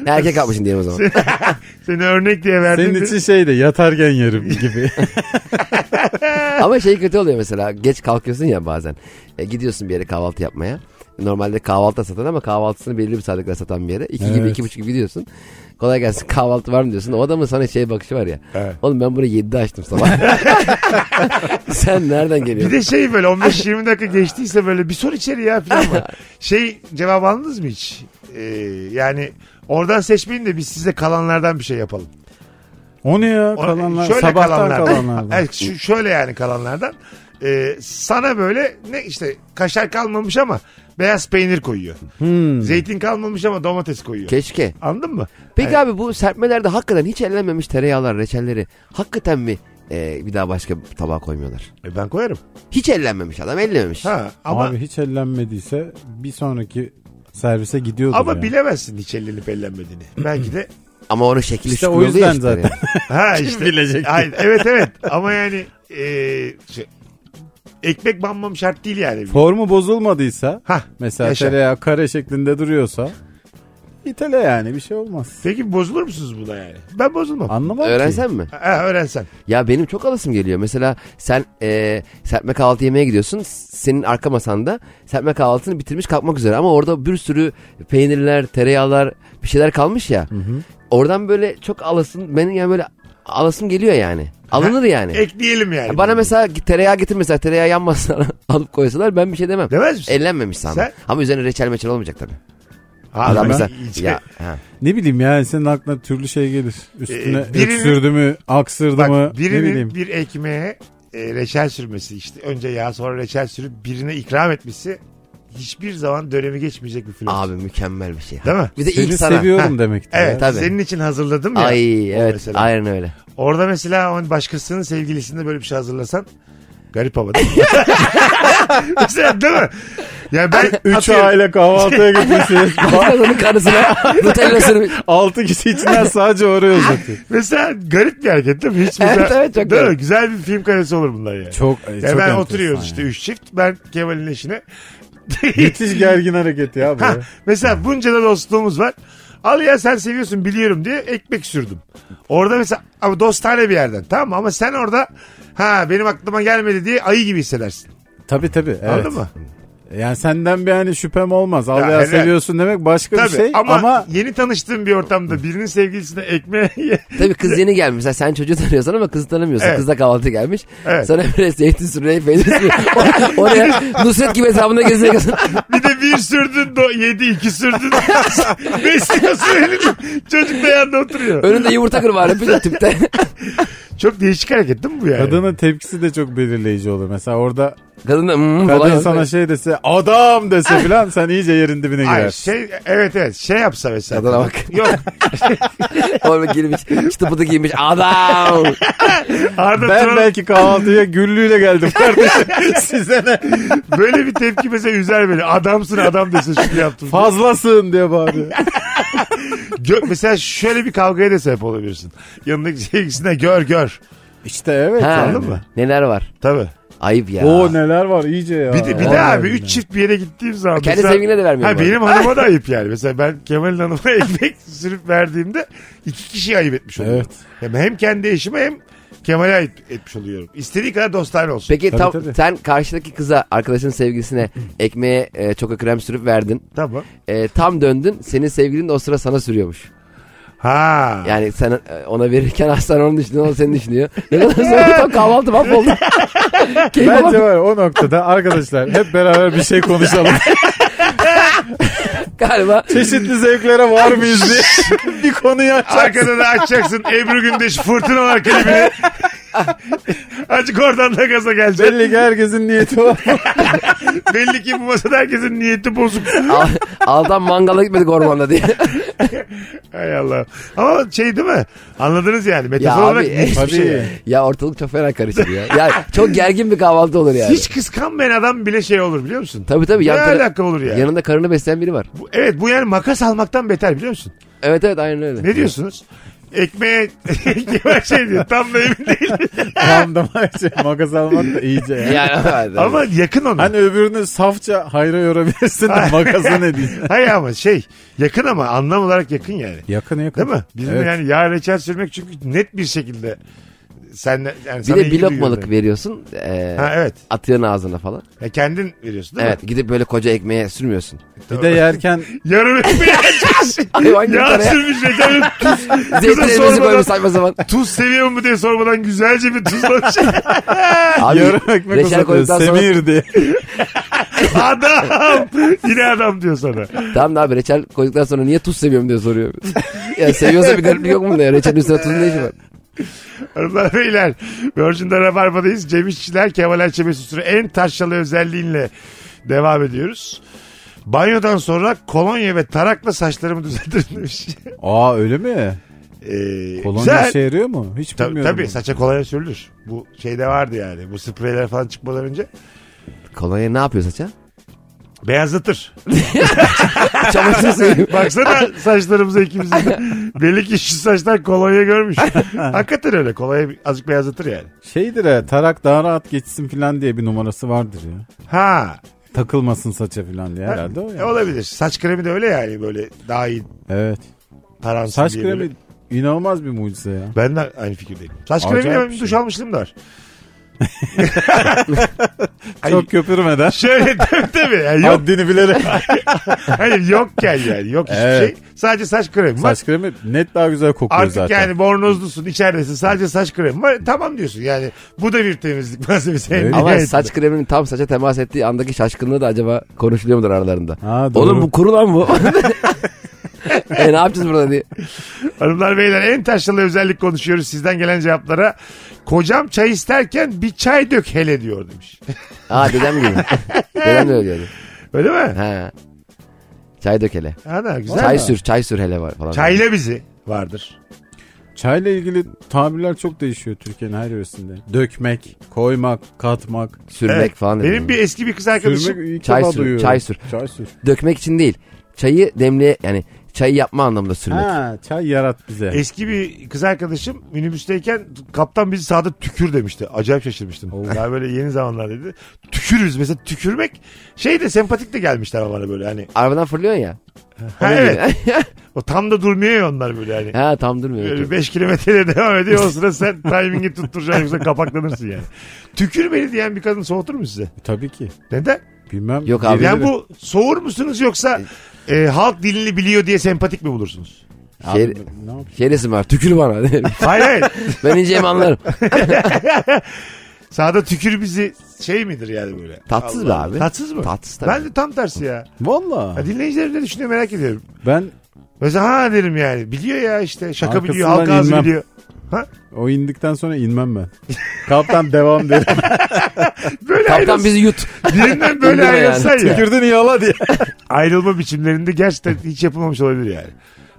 Speaker 5: Erkek kalkmışsın diyelim o zaman.
Speaker 3: Seni örnek diye verdim.
Speaker 4: Senin için şey de
Speaker 3: (laughs)
Speaker 4: yatarken yerim gibi.
Speaker 5: Ama şey kötü oluyor mesela. Geç kalkıyorsun ya bazen. E, gidiyorsun bir yere kahvaltı yapmaya. Normalde kahvaltı satan ama kahvaltısını belirli bir saatlikle satan bir yere. İki gibi
Speaker 4: Evet.
Speaker 5: iki buçuk gibi gidiyorsun. Kolay gelsin (laughs) kahvaltı var mı diyorsun. O adamın sana şey bakışı var ya.
Speaker 3: Evet.
Speaker 5: Oğlum ben burayı yedide açtım
Speaker 4: (laughs)
Speaker 5: sabah. Sen nereden
Speaker 3: Bir
Speaker 5: geliyorsun?
Speaker 3: de şey böyle 15-20 dakika geçtiyse böyle bir sor içeri ya falan
Speaker 4: (laughs)
Speaker 3: var. Şey cevap aldınız mı hiç? Ee, yani oradan seçmeyin de biz size kalanlardan bir şey yapalım.
Speaker 4: o ne ya?
Speaker 3: O-
Speaker 4: Kalanlar, sabahtan kalanlardan.
Speaker 3: Evet, şu, şöyle yani kalanlardan. Ee, sana böyle ne işte kaşar kalmamış ama beyaz peynir koyuyor.
Speaker 4: Hmm.
Speaker 3: Zeytin kalmamış ama domates koyuyor.
Speaker 5: Keşke.
Speaker 3: Anladın mı?
Speaker 5: Peki abi bu serpmelerde hakikaten hiç ellenmemiş tereyağlar, reçelleri hakikaten mi e, bir daha başka bir tabağa koymuyorlar?
Speaker 3: E, ben koyarım.
Speaker 5: Hiç ellenmemiş adam ellememiş.
Speaker 3: Ha, ama
Speaker 4: Abi hiç ellenmediyse bir sonraki servise gidiyordur
Speaker 3: ama
Speaker 4: ya.
Speaker 3: bilemezsin hiç ellenip
Speaker 4: (clears throat)
Speaker 3: ellenmediğini. Belki de
Speaker 5: Ama onun şekli
Speaker 4: İşte
Speaker 5: şükür
Speaker 4: o
Speaker 5: oluyor
Speaker 4: yüzden
Speaker 5: işte hani.
Speaker 4: zaten.
Speaker 5: tereyağı.
Speaker 3: Ha işte.
Speaker 4: bilecek?
Speaker 3: Hayır, evet evet ama yani e, şey, ekmek banmam şart değil yani.
Speaker 4: (laughs) Formu bozulmadıysa
Speaker 3: Hah,
Speaker 4: mesela
Speaker 3: yaşa.
Speaker 4: tereyağı kare şeklinde duruyorsa itele yani bir şey olmaz.
Speaker 3: Peki bozulur musunuz buna yani? Ben bozulmam.
Speaker 4: Anlamam ki.
Speaker 5: Öğrensen mi?
Speaker 3: Ha, öğrensen.
Speaker 5: Ya benim çok alasım geliyor. Mesela sen e, serpme kahvaltı yemeye gidiyorsun. S- Senin arka masanda serpme kahvaltını bitirmiş kalkmak üzere. Ama orada bir sürü peynirler, tereyağlar bir şeyler kalmış ya. Oradan böyle çok alasın. Benim yani böyle alasım geliyor yani. Alınır yani.
Speaker 4: Hani-
Speaker 3: Ekleyelim yani.
Speaker 5: Ya Bana mesela tereyağı getir mesela tereyağı yanmasın (laughs) alıp koysalar ben bir şey demem.
Speaker 3: Demez misin?
Speaker 5: Ellenmemiş sana.
Speaker 3: Sen-
Speaker 5: Ama üzerine reçel meçel olmayacak tabii.
Speaker 3: Ha,
Speaker 5: Adam
Speaker 3: ben
Speaker 5: mesela
Speaker 3: hiç-
Speaker 5: ya, ha.
Speaker 4: Ne bileyim yani senin aklına türlü şey gelir. Üstüne
Speaker 3: Ee, birini-
Speaker 4: öksürdü mü, aksırdı mı
Speaker 3: Bak
Speaker 4: ne bileyim.
Speaker 3: birinin bir ekmeğe e, reçel sürmesi işte önce yağ sonra reçel sürüp birine ikram etmesi hiçbir zaman dönemi geçmeyecek bir flört.
Speaker 5: abi mükemmel bir şey.
Speaker 3: Değil mi?
Speaker 5: Bir de
Speaker 4: Seni
Speaker 5: ilk sana.
Speaker 4: seviyorum demektir.
Speaker 3: Evet
Speaker 4: ya.
Speaker 5: tabii.
Speaker 3: senin için hazırladım ya.
Speaker 5: Ay
Speaker 3: o
Speaker 5: evet
Speaker 3: mesela.
Speaker 5: aynen öyle.
Speaker 3: Orada mesela hani başkasının sevgilisinde böyle bir şey hazırlasan garip ama değil mi?
Speaker 5: (laughs)
Speaker 3: mesela değil mi? Ya ben
Speaker 4: Üç
Speaker 3: atıyorum, (laughs)
Speaker 4: aile kahvaltıya gitmişsiniz.
Speaker 5: Onun karısına Nutella'sını
Speaker 4: Altı kişi içinden sadece oraya uzatıyor.
Speaker 3: Mesela garip bir hareket değil mi? Hiç
Speaker 5: Evet,
Speaker 3: mesela-
Speaker 5: evet, çok
Speaker 3: değil mi?
Speaker 5: garip.
Speaker 3: Güzel bir film karesi olur bunlar yani.
Speaker 4: Çok,
Speaker 3: Ya
Speaker 4: çok
Speaker 3: ben
Speaker 4: enteresan
Speaker 3: oturuyoruz
Speaker 4: ya.
Speaker 3: işte üç çift. Ben Kemal'in eşine.
Speaker 4: (laughs) Müthiş gergin hareket ya bu.
Speaker 3: Ha, mesela bunca da dostluğumuz var. Al ya sen seviyorsun biliyorum diye ekmek sürdüm. Orada mesela ama dostane bir yerden tamam mı? Ama sen orada ha benim aklıma gelmedi diye ayı gibi hissedersin.
Speaker 4: Tabii tabii. Evet.
Speaker 3: Anladın mı?
Speaker 4: Yani senden bir hani şüphem olmaz. Allah
Speaker 3: helal.
Speaker 4: seviyorsun demek başka
Speaker 3: Tabii
Speaker 4: bir şey.
Speaker 3: ama,
Speaker 4: Ama,
Speaker 3: yeni tanıştığım bir ortamda birinin sevgilisine ekmeğe (laughs)
Speaker 5: Tabii kız yeni gelmiş. Mesela sen çocuğu tanıyorsan ama kızı tanımıyorsun.
Speaker 3: Evet.
Speaker 5: Kız da kahvaltı gelmiş.
Speaker 3: Evet.
Speaker 5: Sana böyle zeytin sürerek peynir sürerek (laughs) o- oraya Nusret gibi hesabında gezerek
Speaker 3: bir de bir sürdün do, yedi iki sürdün. (laughs) Besliyorsun elini. Çocuk da yanında oturuyor.
Speaker 5: önünde yumurta kırvar bir de tipte.
Speaker 3: Çok değişik hareket değil mi bu yani?
Speaker 4: kadının tepkisi de çok belirleyici olur. Mesela orada
Speaker 5: (laughs) Kadın da "Hmm"
Speaker 4: kadın
Speaker 5: falan
Speaker 4: sana
Speaker 5: yapıyor.
Speaker 4: şey dese adam dese filan sen iyice yerin dibine
Speaker 3: Ay
Speaker 4: girersin.
Speaker 3: şey evet evet şey yapsa mesela.
Speaker 5: Kadına bak. (laughs)
Speaker 3: Yok
Speaker 5: Orada girmiş. Çıtıpıtı giymiş. Adam.
Speaker 3: Arda
Speaker 4: Ben
Speaker 3: Turan
Speaker 4: belki kahvaltıya güllüyle geldim kardeşim. Size ne?
Speaker 3: (laughs) böyle bir tepki mesela üzer beni. Adamsın adam desin şunu yaptın.
Speaker 4: Fazlasın diye
Speaker 5: (laughs)
Speaker 4: bağırıyor.
Speaker 3: Gö- mesela şöyle bir kavgaya da sebep olabilirsin. Yanındaki sevgilisine gör gör.
Speaker 4: İşte evet.
Speaker 5: Ha.
Speaker 4: yani.
Speaker 3: Anladın mı?
Speaker 5: Neler var?
Speaker 3: Tabii.
Speaker 5: Ayıp ya.
Speaker 4: Oo neler var iyice ya.
Speaker 3: Bir de, bir de
Speaker 4: Vallahi
Speaker 3: abi üç
Speaker 4: billahi.
Speaker 3: çift bir yere gittiğim zaman.
Speaker 5: Kendi sevgiline de vermiyor
Speaker 3: Ha,
Speaker 5: bu arada.
Speaker 3: benim
Speaker 5: (laughs)
Speaker 3: hanıma da ayıp yani. Mesela ben Kemal'in hanıma ekmek (laughs) sürüp verdiğimde iki kişi ayıp etmiş oluyorum.
Speaker 4: Evet.
Speaker 3: Hem, hem kendi eşime hem Kemal'e ayıp etmiş oluyorum. İstediği kadar dostane olsun.
Speaker 5: Peki
Speaker 4: Tabii,
Speaker 5: tam
Speaker 4: tabii.
Speaker 5: sen karşıdaki kıza arkadaşının sevgilisine ekmeğe e, çoka krem sürüp verdin.
Speaker 3: Tamam.
Speaker 5: E, tam döndün senin sevgilin de o sıra sana sürüyormuş.
Speaker 3: Ha.
Speaker 5: Yani sen e, ona verirken aslında onu düşünüyor o seni
Speaker 3: (laughs)
Speaker 5: düşünüyor. Ne kadar sonra tam kahvaltı mahvoldu. Keyfe
Speaker 4: Bence
Speaker 5: bak.
Speaker 4: var o noktada arkadaşlar hep beraber bir şey konuşalım.
Speaker 3: (laughs)
Speaker 5: Galiba
Speaker 4: Çeşitli zevklere var mıyız
Speaker 3: (laughs)
Speaker 4: diye bir konuyu açar.
Speaker 3: Arkada da açacaksın
Speaker 5: (laughs)
Speaker 3: Ebru Gündeş fırtınalar klibini. (laughs) Azıcık oradan da gaza geleceksin.
Speaker 4: Belli ki herkesin niyeti var.
Speaker 3: Belli ki bu masada herkesin niyeti
Speaker 5: (laughs)
Speaker 3: bozuk.
Speaker 5: Al- Aldan mangala gitmedik
Speaker 3: (laughs)
Speaker 5: ormanda diye.
Speaker 3: Hay Allah. Ama şey değil mi? Anladınız yani. Metafor
Speaker 5: ya
Speaker 3: olarak
Speaker 5: abi
Speaker 3: müthiş bir
Speaker 5: hiçbir
Speaker 3: şey.
Speaker 5: şey.
Speaker 3: yani.
Speaker 5: Ya ortalık çok fena karışır ya. Ya çok gergin bir kahvaltı olur yani.
Speaker 3: Hiç kıskanmayan adam bile şey olur biliyor musun?
Speaker 5: Tabii tabii.
Speaker 3: Ne
Speaker 5: yan tara-
Speaker 3: alaka olur ya?
Speaker 5: Yanında karını besleyen biri var.
Speaker 3: Bu- evet bu yani makas almaktan beter biliyor musun?
Speaker 5: Evet evet aynen öyle.
Speaker 3: Ne diyorsunuz? Ekmeğe (laughs) Kemal şey diyor tam da emin değilim.
Speaker 4: Tam da şey, makas almak da iyice ya.
Speaker 3: (laughs)
Speaker 5: Yani, evet, evet.
Speaker 3: ama yakın ona.
Speaker 4: Hani öbürünü safça hayra yorabilirsin de makası ne diyeceksin?
Speaker 3: (laughs) Hayır ama şey yakın ama anlam olarak yakın yani.
Speaker 4: Yakın yakın.
Speaker 3: Değil mi? Bizim
Speaker 4: Evet.
Speaker 3: yani yağ reçel sürmek çünkü net bir şekilde sen yani
Speaker 5: Bir
Speaker 3: sana
Speaker 5: de
Speaker 3: ilgi
Speaker 5: bir lokmalık
Speaker 3: duyuyorum.
Speaker 5: veriyorsun. E,
Speaker 3: Ha evet.
Speaker 5: atıyorsun ağzına falan.
Speaker 3: Ya kendin veriyorsun değil
Speaker 5: evet
Speaker 3: mi?
Speaker 5: gidip böyle koca
Speaker 3: (laughs)
Speaker 5: ekmeğe sürmüyorsun.
Speaker 4: Bir de yerken
Speaker 3: Yarım ekmeği
Speaker 5: (laughs)
Speaker 3: açmış.
Speaker 5: Ay, hangi
Speaker 3: Yağ
Speaker 5: tane?
Speaker 3: sürmüş reçel.
Speaker 5: (laughs)
Speaker 3: Tuz, kıza
Speaker 5: Zeytinlerimizi
Speaker 3: sormadan-
Speaker 5: böyle
Speaker 3: (laughs)
Speaker 5: saçma zaman.
Speaker 3: tuz seviyor mu diye sormadan güzelce bir tuzlamış.
Speaker 5: Abi,
Speaker 4: yarım ekmek
Speaker 5: reçel
Speaker 4: uzatıyor.
Speaker 5: koyduktan sonra
Speaker 4: Semir diye.
Speaker 3: adam. Yine adam diyor sana.
Speaker 5: Tamam da abi reçel koyduktan sonra niye tuz seviyorum diye soruyor. ya seviyorsa bir gariplik yok mu? Ya? Reçelin üstüne tuzun ne işi var?
Speaker 3: Hanımlar beyler Virgin'de Rabarba'dayız. Cem İşçiler Kemal Erçe Mesut Süre en taşralı özelliğinle devam ediyoruz. Banyodan sonra kolonya ve tarakla saçlarımı düzeltirim demiş.
Speaker 4: Aa öyle mi?
Speaker 3: Ee,
Speaker 4: Ee, Kolonya
Speaker 3: güzel.
Speaker 4: işe yarıyor mu? Hiç
Speaker 3: Tabii,
Speaker 4: bilmiyorum.
Speaker 3: tabii saça kolonya sürülür. Bu şeyde vardı yani. Bu spreyler falan çıkmadan önce
Speaker 5: Kolonya ne yapıyor saça?
Speaker 3: beyazlatır.
Speaker 5: Çamaşır
Speaker 3: (laughs)
Speaker 4: (laughs)
Speaker 5: suyu.
Speaker 3: Baksana saçlarımıza ikimizin. de. Belli ki şu saçlar kolonya
Speaker 4: (laughs)
Speaker 3: görmüş. Hakikaten öyle. Kolonya azıcık beyazlatır yani.
Speaker 4: Şeydir ha tarak daha rahat geçsin filan diye bir numarası vardır ya.
Speaker 3: Ha.
Speaker 4: Takılmasın saça filan diye herhalde
Speaker 3: (laughs)
Speaker 4: o
Speaker 3: E,
Speaker 4: ya.
Speaker 3: olabilir. Saç kremi de öyle yani böyle daha iyi
Speaker 4: Evet.
Speaker 3: taransın
Speaker 4: Saç
Speaker 3: diye böyle.
Speaker 4: kremi inanılmaz bir mucize ya.
Speaker 3: Ben de aynı fikirdeyim. Saç
Speaker 4: Acayip
Speaker 3: kremiyle ben
Speaker 4: bir
Speaker 3: duş
Speaker 4: şey.
Speaker 3: almışlığım da var. (laughs)
Speaker 4: Çok köpürmeden.
Speaker 3: Şöyle Şey, tabii tabii. Yani yok,
Speaker 4: Haddini bilerek.
Speaker 3: (laughs) hayır, yokken yani. Yok hiçbir
Speaker 4: Evet.
Speaker 3: şey. Sadece saç kremi var.
Speaker 4: Saç kremi net daha güzel kokuyor
Speaker 3: Artık
Speaker 4: zaten.
Speaker 3: yani bornozlusun içeridesin sadece saç kremi var. Tamam diyorsun yani bu da bir şey temizlik (laughs) malzemesi.
Speaker 4: Öyle.
Speaker 5: Ama
Speaker 3: Nihayetinde.
Speaker 5: saç kreminin tam saça temas ettiği andaki şaşkınlığı da acaba konuşuluyor mudur aralarında?
Speaker 4: Ha, doğru.
Speaker 5: Oğlum bu kuru lan bu. (laughs) e ne yapacağız burada diye.
Speaker 3: Hanımlar beyler en taşralı özellik konuşuyoruz sizden gelen cevaplara. Kocam çay isterken bir çay dök hele diyor demiş.
Speaker 5: Aa dedem gibi. dedem de öyle diyordu.
Speaker 3: Öyle
Speaker 5: (laughs)
Speaker 3: mi?
Speaker 5: Ha. Çay dök hele.
Speaker 3: Ana güzel.
Speaker 5: Çay
Speaker 3: Çay,
Speaker 5: sür, çay sür hele var falan.
Speaker 3: Çayla bizi vardır.
Speaker 4: Çayla ilgili tabirler çok değişiyor Türkiye'nin her yöresinde. Dökmek, koymak, katmak,
Speaker 5: Sürmek
Speaker 3: Evet.
Speaker 5: falan. dedi.
Speaker 3: Benim bir eski bir kız arkadaşım
Speaker 4: sürmek ilk
Speaker 5: Çay
Speaker 4: defa
Speaker 5: sür,
Speaker 4: duyuyorum.
Speaker 5: çay sür.
Speaker 4: Çay sür.
Speaker 5: Dökmek için değil. Çayı demle yani çayı yapma anlamında sürmek.
Speaker 4: Ha, çay yarat bize.
Speaker 3: Eski bir kız arkadaşım minibüsteyken kaptan bizi sağda tükür demişti. Acayip şaşırmıştım.
Speaker 5: Oh.
Speaker 3: Ya böyle yeni zamanlar dedi. Tükürüz mesela tükürmek şey de sempatik de gelmişler ama bana böyle hani.
Speaker 5: Arabadan fırlıyorsun ya.
Speaker 3: Ha,
Speaker 5: Ona
Speaker 3: evet.
Speaker 5: göre.
Speaker 3: O tam da durmuyor ya onlar böyle hani.
Speaker 5: ha tam durmuyor.
Speaker 3: Böyle 5 kilometrede (laughs) devam ediyor. O sıra sen timingi tutturacaksın yoksa kapaklanırsın yani. Tükür beni diyen bir kadın soğutur mu size?
Speaker 4: Tabii ki.
Speaker 3: Neden?
Speaker 4: Bilmem.
Speaker 5: Yok abi.
Speaker 4: birileri-
Speaker 3: Yani bu soğur musunuz yoksa e, halk dilini biliyor diye sempatik mi bulursunuz?
Speaker 5: Şey,
Speaker 4: Abi, ne yapayım?
Speaker 5: şey resim var tükür bana.
Speaker 3: (laughs) Hayır hayır.
Speaker 5: (laughs) ben inceyim anlarım.
Speaker 3: Sağda tükür bizi şey midir yani böyle?
Speaker 5: Tatsız
Speaker 3: Allah
Speaker 5: be abi.
Speaker 3: Tatsız mı?
Speaker 5: Tatsız tabii.
Speaker 3: Ben de tam tersi ya.
Speaker 4: Valla.
Speaker 3: ya dinleyicilerim ne düşünüyor merak ediyorum.
Speaker 4: Ben
Speaker 3: Mesela ha derim yani. Biliyor ya işte. Şaka biliyor.
Speaker 4: Arkasından
Speaker 3: Halk ağzı
Speaker 4: inmem.
Speaker 3: biliyor.
Speaker 4: o indikten sonra inmem ben. (laughs) Kaptan devam derim.
Speaker 3: Böyle
Speaker 5: Kaptan
Speaker 3: ayrılsın.
Speaker 5: bizi yut.
Speaker 3: Birinden böyle
Speaker 5: İndirme yani.
Speaker 3: ayrılsan ya.
Speaker 4: Tükürdün yala diye.
Speaker 3: (laughs) ayrılma biçimlerinde gerçekten hiç yapılmamış olabilir yani.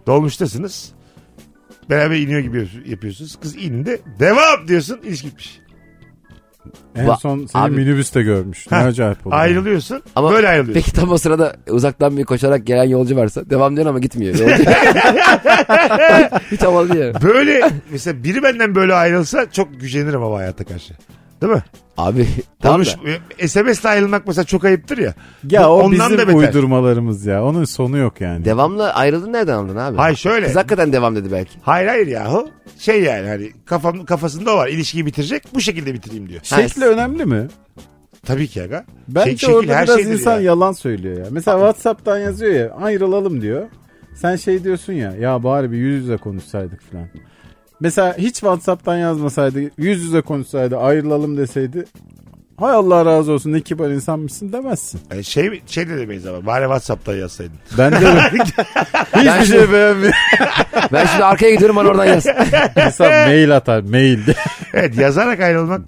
Speaker 3: Dolmuştasınız. Beraber iniyor gibi yapıyorsunuz. Kız indi. Devam diyorsun. İlişki bitmiş.
Speaker 4: En
Speaker 5: Va-
Speaker 4: son seni
Speaker 5: abi-
Speaker 4: minibüste görmüş. Ne
Speaker 3: Heh,
Speaker 4: acayip oldu.
Speaker 3: Ayrılıyorsun.
Speaker 5: Ama
Speaker 3: böyle ayrılıyorsun.
Speaker 5: Peki tam o sırada uzaktan bir koşarak gelen yolcu varsa devam diyor ama gitmiyor.
Speaker 3: (laughs)
Speaker 5: Yolcu. Hiç havalı yani.
Speaker 3: Böyle mesela biri benden böyle ayrılsa çok gücenirim ama hayata karşı. Değil mi?
Speaker 5: Abi tamam da.
Speaker 3: Konuş, e, SMS'le ayrılmak mesela çok ayıptır ya.
Speaker 4: Ya o
Speaker 3: Ondan da
Speaker 4: bizim
Speaker 3: beter.
Speaker 4: uydurmalarımız ya. Onun sonu yok yani.
Speaker 5: Devamla ayrıldın nereden anladın abi?
Speaker 3: Hayır şöyle.
Speaker 5: Kız hakikaten devam dedi belki.
Speaker 3: Hayır hayır yahu. Şey yani hani kafam, kafasında o var. İlişkiyi bitirecek. Bu şekilde bitireyim diyor.
Speaker 4: Şekli önemli mi?
Speaker 3: Tabii ki aga.
Speaker 4: Bence
Speaker 3: Şek- şekil
Speaker 4: orada
Speaker 3: her
Speaker 4: biraz
Speaker 3: şeydir
Speaker 4: insan
Speaker 3: ya.
Speaker 4: yalan söylüyor ya. Mesela Whatsapp'tan yazıyor ya ayrılalım diyor. Sen şey diyorsun ya ya bari bir yüz yüze konuşsaydık falan. Mesela hiç Whatsapp'tan yazmasaydı yüz yüze konuşsaydı ayrılalım deseydi hay Allah razı olsun ne kibar insanmışsın demezsin.
Speaker 3: Yani şey, şey de demeyiz ama. Bari Whatsapp'ta yazsaydın. (laughs)
Speaker 4: Ben de
Speaker 5: Ben
Speaker 4: hiçbir
Speaker 5: şimdi,
Speaker 4: şey beğenmiyorum.
Speaker 5: (laughs) ben şimdi arkaya gidiyorum bana oradan yaz.
Speaker 4: (laughs) İnsan mail atar mail.
Speaker 3: Evet yazarak ayrılmak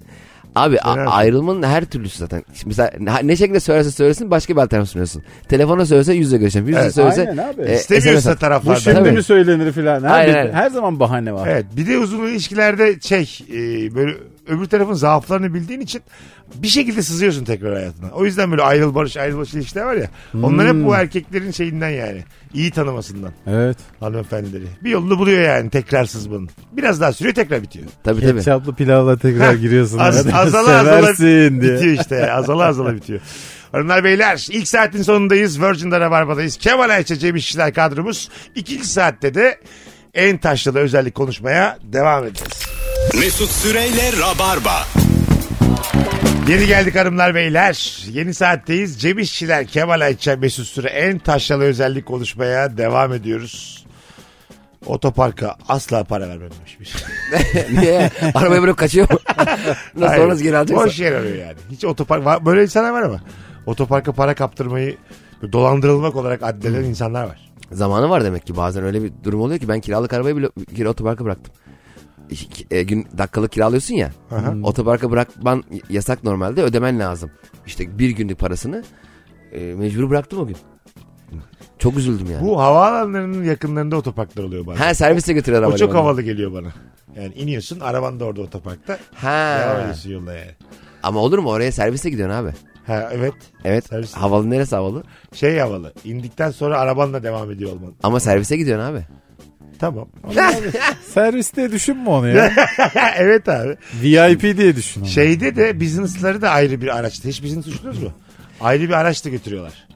Speaker 5: Abi a-
Speaker 3: Fena.
Speaker 5: ayrılmanın her türlüsü zaten. Şimdi mesela ne- ne şekilde söylese söylesin başka bir alternatif sunuyorsun. Telefona söylese yüzle görüşelim. Yüzle
Speaker 3: Evet,
Speaker 5: söylese. e,
Speaker 4: aynen abi.
Speaker 3: İstemiyorsa
Speaker 5: SMS
Speaker 4: Bu
Speaker 5: at.
Speaker 4: şey
Speaker 3: taraflardan.
Speaker 4: şimdi
Speaker 5: Tabii.
Speaker 4: mi söylenir falan. Her,
Speaker 5: Aynen, aynen.
Speaker 4: her zaman bahane var.
Speaker 3: Evet bir de uzun ilişkilerde şey e, böyle öbür tarafın zaaflarını bildiğin için bir şekilde sızıyorsun tekrar hayatına. O yüzden böyle ayrıl barış ayrıl barış ilişkiler var ya. Onlar hep bu
Speaker 4: Hmm.
Speaker 3: erkeklerin şeyinden yani. iyi tanımasından
Speaker 4: Evet.
Speaker 3: hanımefendileri. Bir yolunu buluyor yani tekrar sızmanın. Biraz daha sürüyor tekrar bitiyor.
Speaker 5: Tabii tabii.
Speaker 4: Ketçaplı pilavla tekrar giriyorsun.
Speaker 3: Az,
Speaker 4: arada.
Speaker 3: azala azala
Speaker 4: Seversin diye.
Speaker 3: bitiyor işte. Azala azala bitiyor. Hanımlar beyler ilk saatin sonundayız. Virgin'de Rabarba'dayız. Kemal Ayça Cem İşçiler kadromuz. İkinci saatte de en taşlı da özellik konuşmaya devam edeceğiz.
Speaker 2: Mesut Süreyle Rabarba.
Speaker 3: Geri geldik hanımlar beyler. Yeni saatteyiz. Cem İşçiler, Kemal Ayça, Mesut Süre en taşralı özellik konuşmaya devam ediyoruz. Otoparka asla para vermem demiş bir.
Speaker 5: (laughs)
Speaker 3: şey.
Speaker 5: Niye? Arabaya böyle
Speaker 3: (laughs)
Speaker 5: kaçıyor mu? Nasıl
Speaker 3: Hayır.
Speaker 5: sonra nasıl geri alacaksa.
Speaker 3: Boş yer arıyor yani. Hiç otopark var- böyle insanlar var ama otoparka para kaptırmayı dolandırılmak olarak addeden
Speaker 5: Hmm.
Speaker 3: insanlar var.
Speaker 5: Zamanı var demek ki bazen öyle bir durum oluyor ki ben kiralık arabayı bile kira otoparka bıraktım. İki- e, gün dakikalık kiralıyorsun ya. Hmm.
Speaker 3: Aha.
Speaker 5: Otoparka bırakman yasak normalde ödemen lazım. İşte bir günlük parasını e, mecbur bıraktım o gün. Çok üzüldüm yani.
Speaker 3: Bu havaalanlarının yakınlarında otoparklar oluyor bazen.
Speaker 5: Ha servise götür arabayı.
Speaker 3: o çok
Speaker 5: bana.
Speaker 3: havalı geliyor bana. Yani iniyorsun araban da orada otoparkta. Devam
Speaker 5: Ha.
Speaker 3: ediyorsun yolda yani.
Speaker 5: Ama olur mu oraya servise gidiyorsun abi.
Speaker 3: Ha evet.
Speaker 5: Evet.
Speaker 3: Servis-
Speaker 5: Havalı neresi havalı?
Speaker 3: Şey havalı. İndikten sonra arabanla devam ediyor olman.
Speaker 5: Ama servise gidiyorsun abi.
Speaker 3: Tamam.
Speaker 4: Serviste düşünme onu ya.
Speaker 3: (laughs) evet abi.
Speaker 4: VIP diye düşün. onu.
Speaker 3: Şeyde de business'ları da ayrı bir araçta. Hiç business uçtunuz mu? Ayrı bir araçta götürüyorlar.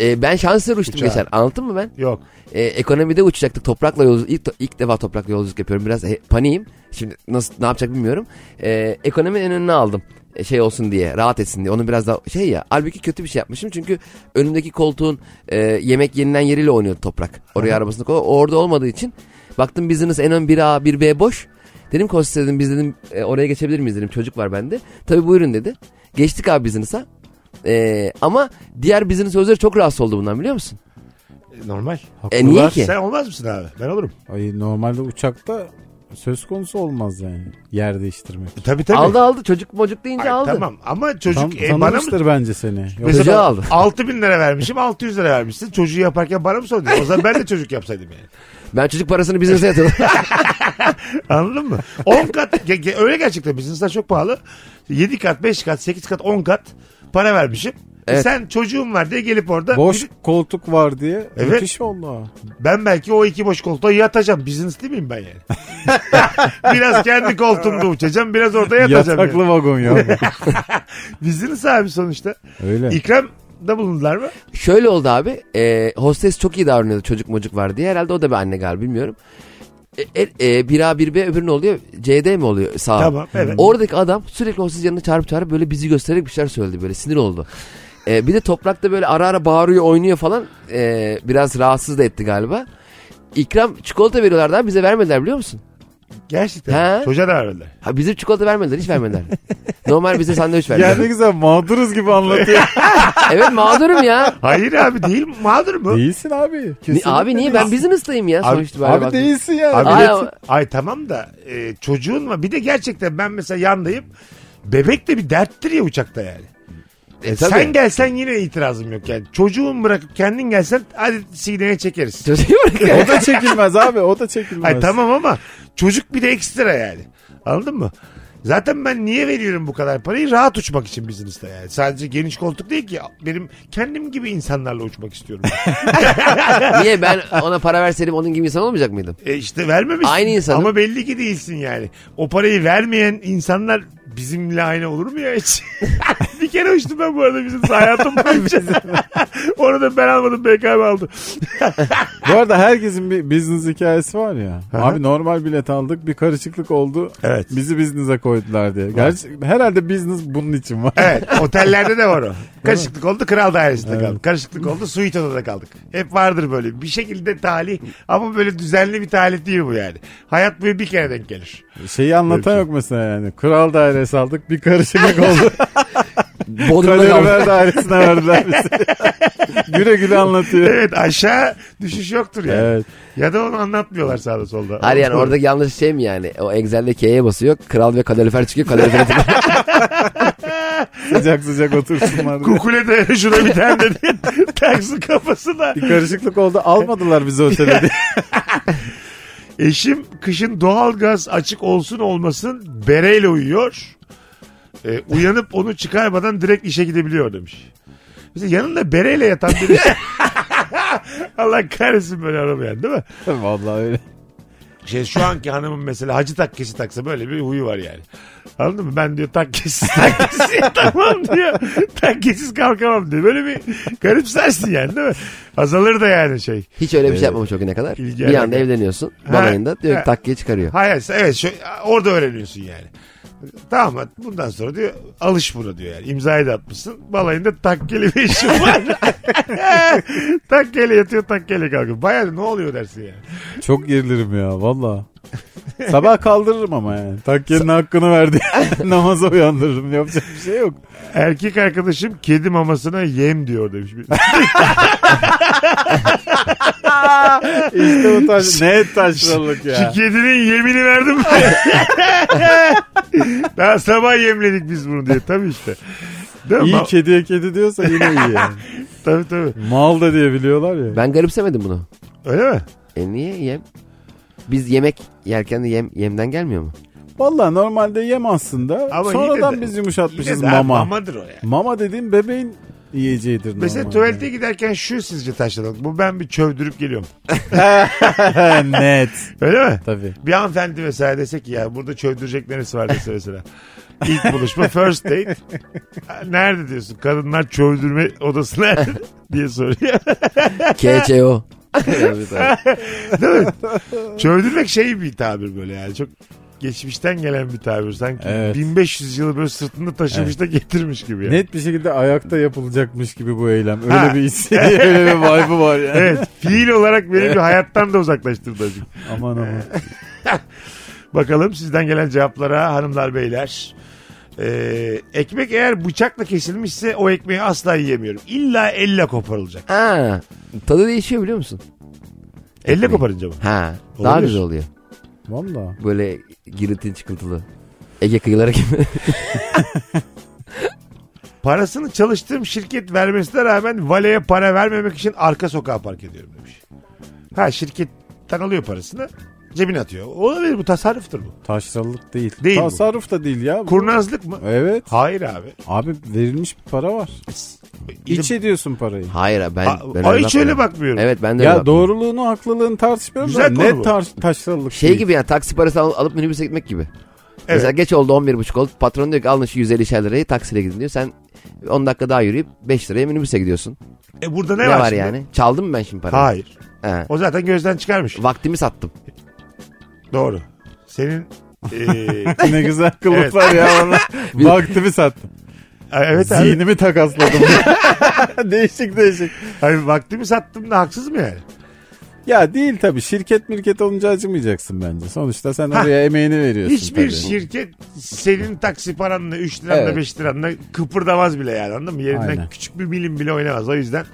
Speaker 5: E, ben şanslı uçtum
Speaker 3: Uçağa.
Speaker 5: geçen. Anlattım mı ben?
Speaker 3: Yok.
Speaker 5: E, ekonomide uçacaktık. Toprakla yolculuk. Ilk, ilk defa toprakla yolculuk yapıyorum. Biraz he, paniğim. Şimdi nasıl ne yapacak bilmiyorum. E, ekonomi en önüne aldım. E, şey olsun diye. Rahat etsin diye. Onu biraz daha şey ya. Halbuki kötü bir şey yapmışım. Çünkü önümdeki koltuğun e, yemek yenilen yeriyle oynuyordu toprak. Oraya arabasını koy. O Orada olmadığı için. Baktım business en ön 1A 1B boş. Dedim Kostis dedim biz dedim e, oraya geçebilir miyiz dedim. Çocuk var bende. Tabii buyurun dedi. Geçtik abi business'a. E, ama diğer business sözleri çok rahatsız oldu bundan biliyor musun?
Speaker 3: E, Normal.
Speaker 5: E, niye ki?
Speaker 3: Sen olmaz mısın abi? Ben olurum.
Speaker 4: Ay, normalde uçakta söz konusu olmaz yani. Yer değiştirmek.
Speaker 3: E, tabii tabii.
Speaker 5: Aldı aldı çocuk mocuk deyince
Speaker 3: Ay,
Speaker 5: aldı.
Speaker 3: Tamam ama
Speaker 4: Tam,
Speaker 3: çocuk e, bana mı?
Speaker 4: tanımıştır bence seni. Yok,
Speaker 5: Çocuğa aldı.
Speaker 3: 6 bin lira vermişim 600 lira vermişsin. Çocuğu yaparken bana mı sordun? O zaman ben de çocuk yapsaydım yani.
Speaker 5: Ben çocuk parasını bize yatırdım. (laughs)
Speaker 3: Anladın mı? 10 kat ge- ge- öyle gerçekten business'lar çok pahalı. 7 kat 5 kat 8 kat 10 kat para vermişim. E,
Speaker 5: Evet.
Speaker 3: sen çocuğum var diye gelip orada
Speaker 4: Boş
Speaker 3: bir-
Speaker 4: koltuk var diye.
Speaker 3: Evet.
Speaker 4: Müthiş oldu. ha.
Speaker 3: Ben belki o iki boş koltuğa yatacağım. Business değil miyim ben yani? (laughs) biraz kendi koltuğumda uçacağım. Biraz orada yatacağım.
Speaker 4: Yataklı
Speaker 3: Yani. (laughs)
Speaker 4: vagon ya.
Speaker 3: Business abi sonuçta.
Speaker 4: Öyle.
Speaker 3: İkram da bulundular mı?
Speaker 5: Şöyle oldu abi. e, hostes çok iyi davranıyordu çocuk mocuk var diye. Herhalde o da bir anne galiba bilmiyorum. E, e, e, 1A 1B öbürü ne oluyor? CD mi oluyor sağ?
Speaker 3: Tamam, evet.
Speaker 5: Oradaki adam sürekli hostes yanına çağırıp çağırıp böyle bizi göstererek bir şeyler söyledi böyle sinir oldu. Ee, bir de toprakta böyle ara ara bağırıyor oynuyor falan. Ee, biraz rahatsız da etti galiba. İkram çikolata veriyorlardı abi bize vermediler biliyor musun?
Speaker 3: Gerçekten.
Speaker 5: He?
Speaker 3: Çocuğa da verdiler.
Speaker 5: Ha, bize çikolata vermediler hiç
Speaker 3: (laughs)
Speaker 5: vermediler. Normal bize sandviç
Speaker 4: Ya
Speaker 5: verdiler.
Speaker 4: ne güzel mağduruz
Speaker 3: (laughs)
Speaker 4: gibi anlatıyor.
Speaker 5: evet mağdurum ya.
Speaker 3: Hayır abi değil mağdur mu?
Speaker 4: değilsin abi.
Speaker 5: Ni-
Speaker 4: Kesinlikle
Speaker 5: abi niye ben
Speaker 4: değilsin.
Speaker 5: business'tayım ya
Speaker 3: Abi-
Speaker 5: sonuçta.
Speaker 4: Abi değilsin ya.
Speaker 3: Abi-
Speaker 5: Ay,
Speaker 4: Milletin-
Speaker 3: Ay tamam da e, çocuğun var. Bir de gerçekten ben mesela yandayım. Bebek de bir derttir ya uçakta yani.
Speaker 5: E, tabii.
Speaker 3: Sen gelsen yine itirazım yok yani. Çocuğun bırakıp kendin gelsen hadi sineye çekeriz.
Speaker 5: Çocuğu bırak
Speaker 4: (laughs)
Speaker 5: ya.
Speaker 4: o da çekilmez abi o da çekilmez.
Speaker 3: Ay tamam ama çocuk bir de ekstra yani. Anladın mı? Zaten ben niye veriyorum bu kadar parayı? Rahat uçmak için business'ta yani. Sadece geniş koltuk değil ki. Benim kendim gibi insanlarla uçmak istiyorum.
Speaker 5: (laughs) Niye ben ona para verseydim onun gibi insan olmayacak mıydım?
Speaker 3: E işte vermemişsin.
Speaker 5: Aynı insanım.
Speaker 3: Ama belli ki değilsin yani. O parayı vermeyen insanlar bizimle aynı olur mu ya hiç? (laughs) bir kere uçtum ben bu arada bizim hayatım boyunca. (laughs) Onu da ben almadım BKM aldı.
Speaker 4: Bu arada herkesin bir business hikayesi var ya. Abi normal bilet aldık bir karışıklık oldu.
Speaker 3: Evet.
Speaker 4: Bizi business'a koydular diye. Gerçi herhalde business bunun için var.
Speaker 3: Evet otellerde de var o. Karışıklık oldu kral dairesinde kaldık. Karışıklık oldu suite odada kaldık. Hep vardır böyle bir şekilde talih ama böyle düzenli bir talih değil bu yani. Hayat boyu bir kere denk gelir.
Speaker 4: Şeyi anlatan yok mesela yani. Kral dairesi aldık bir
Speaker 3: (laughs)
Speaker 4: karışıklık oldu.
Speaker 5: Bodrum'da kaldım.
Speaker 4: Kalorifer dairesine verdiler bizi. (laughs) güle güle anlatıyor.
Speaker 3: Evet aşağı düşüş yoktur yani.
Speaker 4: Evet.
Speaker 3: Ya da onu anlatmıyorlar sağda solda.
Speaker 5: Hayır yani orada yanlış şey mi yani? O Excel'de K'ye basıyor. Kral ve kalorifer çıkıyor. Kalorifer tıklıyor.
Speaker 4: Sıcak sıcak otursunlar. diye.
Speaker 3: Kukule de şuna bir tane dedi. (laughs) Taksın kafasına.
Speaker 4: bir karışıklık oldu almadılar bizi otele diye. (laughs)
Speaker 3: Eşim kışın doğalgaz açık olsun olmasın bereyle uyuyor. Ee, uyanıp onu çıkarmadan direkt işe gidebiliyor demiş. Mesela yanında bereyle yatan biri. (laughs) Allah kahretsin böyle aramayan değil mi?
Speaker 4: Vallahi öyle.
Speaker 3: Şey, şu anki hanımın mesela hacı takkesi taksa böyle bir huyu var yani. Anladın mı? Ben diyor takkesiz takkesiz (laughs) tamam diyor. Takkesiz kalkamam diyor. Böyle bir garipsersin yani değil mi? Azalır da yani şey.
Speaker 5: Hiç öyle bir şey yapmamış o güne kadar.
Speaker 3: İlgi
Speaker 5: bir anda
Speaker 3: alaka.
Speaker 5: evleniyorsun.
Speaker 3: Ha,
Speaker 5: Balayında diyor
Speaker 3: ha.
Speaker 5: ki takkiye çıkarıyor.
Speaker 3: Hayır evet şu, orada öğreniyorsun yani. Tamam hadi bundan sonra diyor alış buna diyor yani. İmzayı da atmışsın. Balayında takkeli bir işim var.
Speaker 4: (laughs)
Speaker 3: takkeli yatıyor takkeli kalkıyor. Bayağı ne oluyor dersin yani.
Speaker 4: Çok gerilirim ya valla. Sabah kaldırırım ama yani. Takkiyenin hakkını verdi. (laughs) Namaza uyandırırım. Yapacak bir şey yok.
Speaker 3: Erkek arkadaşım kedi mamasına yem diyor demiş. Bir-
Speaker 4: İşte bu taş. ne taşralık ya.
Speaker 3: Şu kedinin yemini
Speaker 4: (laughs)
Speaker 3: verdim. Daha sabah yemledik biz bunu diye. Tabii işte. Değil mi?
Speaker 4: İyi kediye kedi diyorsa yine iyi yani.
Speaker 3: Tabii tabii.
Speaker 4: Mal da diye biliyorlar ya.
Speaker 5: Ben garipsemedim bunu.
Speaker 3: Öyle mi?
Speaker 5: E niye yem? Biz yemek yerken de yem, yemden gelmiyor mu?
Speaker 4: Valla normalde yem aslında.
Speaker 3: Ama
Speaker 4: Sonradan
Speaker 3: yine de-
Speaker 4: biz
Speaker 3: Yine
Speaker 4: yumuşatmışız
Speaker 3: de
Speaker 4: mama. mama.
Speaker 3: Mamadır o yani.
Speaker 4: dediğin bebeğin yiyeceğidir
Speaker 3: Mesela
Speaker 4: normalde.
Speaker 3: tuvalete giderken şu sizce taşladık. Bu ben bir çövdürüp geliyorum.
Speaker 4: He, Net.
Speaker 3: Öyle mi?
Speaker 4: Tabii.
Speaker 3: Bir hanımefendi mesela dese ki ya burada çövdürecek neresi var dese mesela. İlk buluşma first date. Nerede diyorsun? Kadınlar çövdürme odası nerede (laughs) diye soruyor.
Speaker 5: KCO.
Speaker 3: Çövdürmek şey bir tabir böyle yani. Çok geçmişten gelen bir tabir. Sanki
Speaker 4: Evet.
Speaker 3: 1500 yılı böyle sırtında taşımış da getirmiş gibi. Yani.
Speaker 4: Net bir şekilde ayakta yapılacakmış gibi bu eylem. Öyle
Speaker 3: Ha.
Speaker 4: bir hissi, (laughs) öyle bir vibe'ı var yani.
Speaker 3: Evet. Fiil olarak beni bir hayattan da uzaklaştırdı azıcık.
Speaker 4: Aman aman.
Speaker 3: Bakalım sizden gelen cevaplara hanımlar beyler. Ee, ekmek eğer bıçakla kesilmişse o ekmeği asla yiyemiyorum. İlla elle koparılacak.
Speaker 5: Aa, tadı değişiyor biliyor musun?
Speaker 3: Elle koparınca mı?
Speaker 5: Ha, daha
Speaker 3: Olabilir.
Speaker 5: güzel oluyor.
Speaker 4: Valla.
Speaker 5: Böyle giritli çıkıntılı. Ege kıyıları gibi.
Speaker 3: Parasını çalıştığım şirket vermesine rağmen valeye para vermemek için arka sokağa park ediyorum demiş. Ha şirketten alıyor parasını cebine atıyor. Olabilir bu tasarruftur bu.
Speaker 4: Taşralık değil.
Speaker 3: Değil bu.
Speaker 4: Tasarruf da değil ya. bu.
Speaker 3: Kurnazlık mı?
Speaker 4: Evet.
Speaker 3: Hayır abi.
Speaker 4: Abi verilmiş bir para var. İç ediyorsun parayı.
Speaker 5: Hayır abi, ben,
Speaker 3: A-
Speaker 5: ben
Speaker 3: Ay, hiç öyle
Speaker 5: bakmıyorum.
Speaker 3: bakmıyorum.
Speaker 5: Evet ben de öyle
Speaker 4: Ya
Speaker 5: bakmıyorum.
Speaker 4: doğruluğunu haklılığını tartışmıyorum
Speaker 3: Güzel
Speaker 4: da
Speaker 3: konu bu.
Speaker 4: net tar- taşralık
Speaker 5: Şey
Speaker 4: değil.
Speaker 5: gibi ya taksi parası al- alıp minibüse gitmek gibi. Mesela geç oldu 11.30 oldu. Patron diyor ki alın şu 150 lirayı taksiyle gidin diyor. Sen 10 dakika daha yürüyüp 5 liraya minibüse gidiyorsun.
Speaker 3: E burada ne,
Speaker 5: Ne,
Speaker 3: var,
Speaker 5: var
Speaker 3: şimdi?
Speaker 5: yani? Çaldım mı ben şimdi parayı?
Speaker 3: Hayır.
Speaker 5: He.
Speaker 3: O zaten gözden çıkarmış.
Speaker 5: Vaktimi sattım.
Speaker 3: Doğru. Senin e, (laughs)
Speaker 5: (laughs)
Speaker 4: ne güzel kılıflar ya valla. Vaktimi sattım.
Speaker 3: Ay, evet abi. (laughs)
Speaker 4: Zihnimi takasladım. değişik değişik.
Speaker 3: Ay, vaktimi sattım da haksız mı yani?
Speaker 4: Ya değil tabii. Şirket mirket olunca acımayacaksın bence. Sonuçta sen oraya emeğini veriyorsun.
Speaker 3: Hiçbir
Speaker 4: tabii.
Speaker 3: şirket senin taksi paranla 3 liranla
Speaker 4: Evet.
Speaker 3: 5 liranla kıpırdamaz bile yani anladın mı? Yerinden
Speaker 4: Aynen.
Speaker 3: küçük bir milim bile oynamaz. O yüzden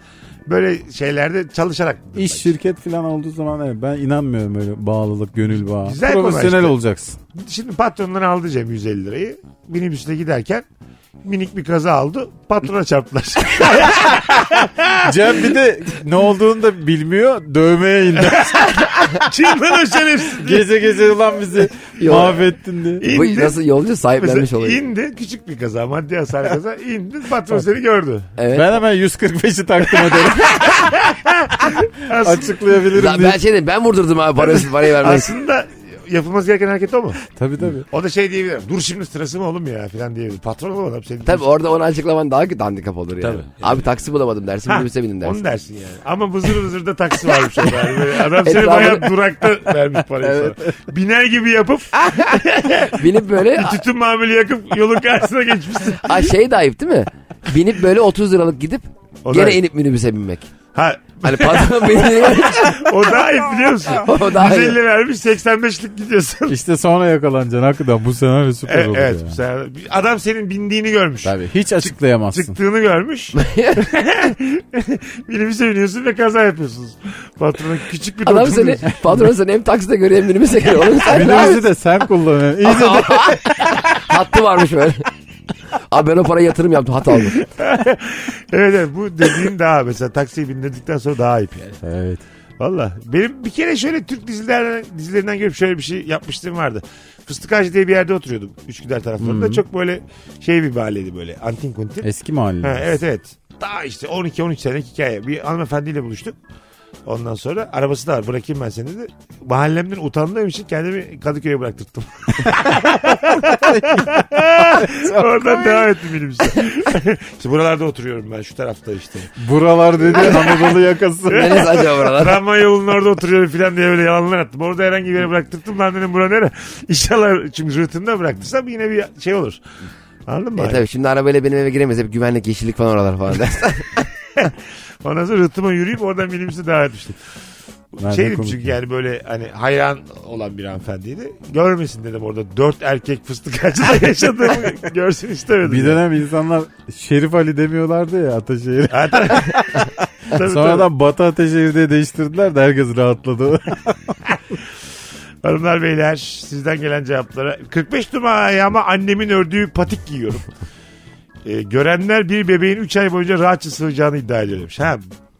Speaker 3: böyle şeylerde çalışarak.
Speaker 4: İş şirket falan olduğu zaman evet, ben inanmıyorum öyle bağlılık, gönül bağı.
Speaker 3: Güzel konu
Speaker 4: Profesyonel
Speaker 3: işte.
Speaker 4: olacaksın.
Speaker 3: Şimdi patrondan aldı Cem 150 lirayı. Minibüsle giderken minik bir kaza aldı. Patrona
Speaker 4: (laughs)
Speaker 3: çarptılar.
Speaker 4: Cem bir de ne olduğunu da bilmiyor. Dövmeye indi. (laughs)
Speaker 3: Kim lan o şerefsiz?
Speaker 4: gece gece ulan bizi
Speaker 5: Yo.
Speaker 4: mahvettin diye.
Speaker 5: Bu
Speaker 3: İndi.
Speaker 5: nasıl yolcu sahiplenmiş
Speaker 3: Mesela
Speaker 5: oluyor.
Speaker 3: indi küçük bir kaza maddi hasar kaza indi patron seni gördü.
Speaker 5: Evet.
Speaker 4: Ben hemen 145'i taktım (laughs) ederim.
Speaker 3: Aslında,
Speaker 4: Açıklayabilirim
Speaker 5: Ben,
Speaker 4: diye.
Speaker 5: ben şey dedim, ben vurdurdum abi parayı, parayı vermek.
Speaker 3: aslında yapılması gereken hareket o mu?
Speaker 4: Tabii tabii.
Speaker 3: O da şey diyebilir. Dur şimdi sırası mı oğlum ya falan diyebilir. Patron oğlum adam seni.
Speaker 5: Tabii orada onu açıklaman daha kötü handikap olur yani.
Speaker 4: Tabii.
Speaker 5: Abi taksi bulamadım dersin,
Speaker 3: Ha,
Speaker 5: minibüse bindim dersin.
Speaker 3: Onu dersin yani. Ama vızır vızır da taksi varmış orada. Yani
Speaker 5: (laughs)
Speaker 3: böyle adam seni
Speaker 5: Etrafı-
Speaker 3: bayağı durakta vermiş parayı sana. Biner gibi yapıp
Speaker 5: Ah!
Speaker 3: (laughs)
Speaker 5: Binip böyle,
Speaker 3: tütün mamülü yakıp yolun karşısına geçmişsin.
Speaker 5: ha, şey de ayıp değil mi? Binip böyle 30 liralık gidip
Speaker 3: O da
Speaker 5: gene
Speaker 3: ayıp.
Speaker 5: inip minibüse binmek.
Speaker 3: Ha,
Speaker 5: Hani patron beni
Speaker 3: o daha ayıp biliyor musun?
Speaker 5: (laughs) o daha iyi.
Speaker 3: 150 vermiş 85'lik
Speaker 5: (laughs)
Speaker 3: gidiyorsun.
Speaker 4: İşte sonra yakalanacaksın hakikaten. Bu senaryo süper
Speaker 3: E-
Speaker 4: olur
Speaker 3: evet.
Speaker 4: ya.
Speaker 3: bu sefer- Adam senin bindiğini görmüş.
Speaker 4: Tabii hiç açıklayamazsın.
Speaker 3: Çıktığını
Speaker 5: (laughs)
Speaker 3: görmüş. (laughs) Minibüse biniyorsun ve kaza yapıyorsunuz. Patrona küçük bir (laughs)
Speaker 5: (laughs) Adam
Speaker 3: notum
Speaker 5: seni,
Speaker 3: diyorsun.
Speaker 5: patron seni hem takside görüyor hem minibüse görüyor. Oğlum sen ne yapıyorsun?
Speaker 4: Minibüsü de sen kullanıyorsun. İyice de
Speaker 5: Hattı varmış böyle. Abi ben o paraya yatırım yaptım hata
Speaker 3: (laughs)
Speaker 5: oldu.
Speaker 3: Evet, evet bu dediğim daha mesela taksiye bindirdikten sonra daha ayıp yani.
Speaker 4: (laughs) Evet.
Speaker 3: Valla. Benim bir kere şöyle Türk dizilerden, dizilerinden görüp şöyle bir şey yapmıştım vardı. Fıstık Ağacı diye bir yerde oturuyordum. Üsküdar taraflarında. Çok böyle şey bir mahalleydi böyle. Antin kuntin.
Speaker 4: Eski mahalle.
Speaker 3: Ha, evet evet. Daha işte 12-13 senelik hikaye. Bir hanımefendiyle buluştuk. Ondan sonra arabası da var bırakayım ben seni dedi. Mahallemden utandığım için kendimi Kadıköy'e bıraktırdım. Oradan devam ettim benim işte. (laughs) işte. buralarda oturuyorum ben şu tarafta işte.
Speaker 4: Buralar (laughs) dedi Anadolu yakası.
Speaker 5: Neresi acaba buralar?
Speaker 3: Tramvay yolunun orada oturuyorum falan diye böyle yalanlar attım. Orada herhangi bir yere bıraktırdım lan dedim bura nere? İnşallah çünkü rütinde bıraktırsam yine bir şey olur. Anladın mı?
Speaker 5: E tabii şimdi arabayla benim eve giremeyiz. Hep güvenlik, yeşillik falan oralar falan dersin. (laughs)
Speaker 3: Ondan sonra rıhtıma yürüyüp oradan minibüse davet etmiştim.
Speaker 4: Nereden
Speaker 3: Şeydim
Speaker 4: komik
Speaker 3: çünkü
Speaker 4: ya.
Speaker 3: yani böyle hani hayran olan bir hanımefendiydi. Görmesin dedim orada dört erkek fıstık
Speaker 4: (laughs)
Speaker 3: ağacında yaşadığımı görsün istemedim.
Speaker 4: Bir dönem insanlar Şerif Ali demiyorlardı ya Ataşehir.
Speaker 3: Tabii,
Speaker 4: Sonradan Batı Ataşehir diye değiştirdiler de herkes rahatladı.
Speaker 3: tabii. Hanımlar beyler sizden gelen cevaplara. 45 numara ayağıma annemin ördüğü patik giyiyorum. Ee, görenler bir bebeğin 3 ay boyunca rahatça sığacağını iddia ediyormuş. Ha,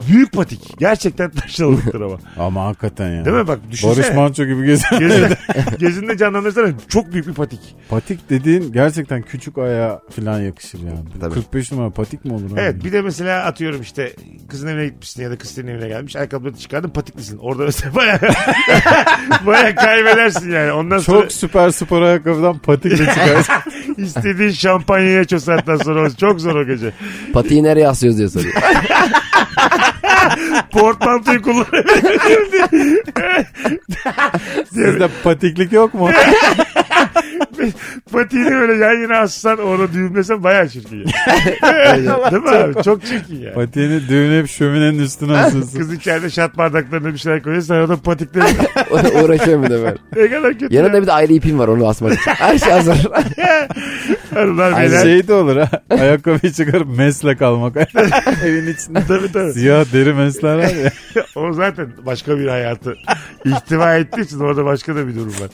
Speaker 3: büyük patik. Gerçekten (laughs) taşralıktır ama.
Speaker 4: Ama hakikaten ya.
Speaker 3: Değil mi? Bak düşünsene.
Speaker 4: Barış Manço gibi geziyor.
Speaker 3: Gözünde, (laughs) gözünde canlandırsana çok büyük bir patik.
Speaker 4: patik dediğin gerçekten küçük ayağa falan yakışır yani.
Speaker 5: Tabii.
Speaker 4: 45 numara patik mi olur? abi?
Speaker 3: Evet bir de mesela atıyorum işte kızın evine gitmişsin ya da kız senin evine gelmiş ayakkabıları çıkardın patiklisin. Orada mesela (laughs) baya baya kaybedersin yani. Ondan sonra
Speaker 4: Çok süper spor ayakkabıdan patikle
Speaker 3: (laughs)
Speaker 4: çıkar.
Speaker 3: istediğin şampanyaya aç o saatten sonra o- çok zor o gece.
Speaker 5: Patiyi nereye asıyoruz diye soruyor.
Speaker 3: Portmantoyu kullanabilirim diye.
Speaker 4: Sizde patiklik
Speaker 3: (laughs)
Speaker 4: yok mu?
Speaker 3: Patiğini böyle yan yana assan orada düğümlesen baya çirkin. Yani. Değil mi abi? Çok çirkin yani.
Speaker 4: Patiğini düğünleyip şöminenin üstüne asıyorsun.
Speaker 3: Kız içeride şat bardaklarına bir şeyler koyuyor. Sen orada patikleri
Speaker 5: (laughs) Uğraşıyorum bir de ben.
Speaker 3: ne kadar kötü.
Speaker 5: Yanında bir de ayrı ipim var onu asmak için. Her
Speaker 3: (laughs)
Speaker 5: şey hazır.
Speaker 3: Hanımlar,
Speaker 4: Ay,
Speaker 3: beyler.
Speaker 4: şey de olur ha. (laughs) Ayakkabıyı çıkarıp mesle kalmak.
Speaker 3: (laughs)
Speaker 4: Evin içinde.
Speaker 3: Tabii tabii.
Speaker 4: Siyah deri mesler var
Speaker 3: (laughs)
Speaker 4: ya.
Speaker 3: O zaten başka bir hayatı ihtiva ettiği için orada başka da bir durum var.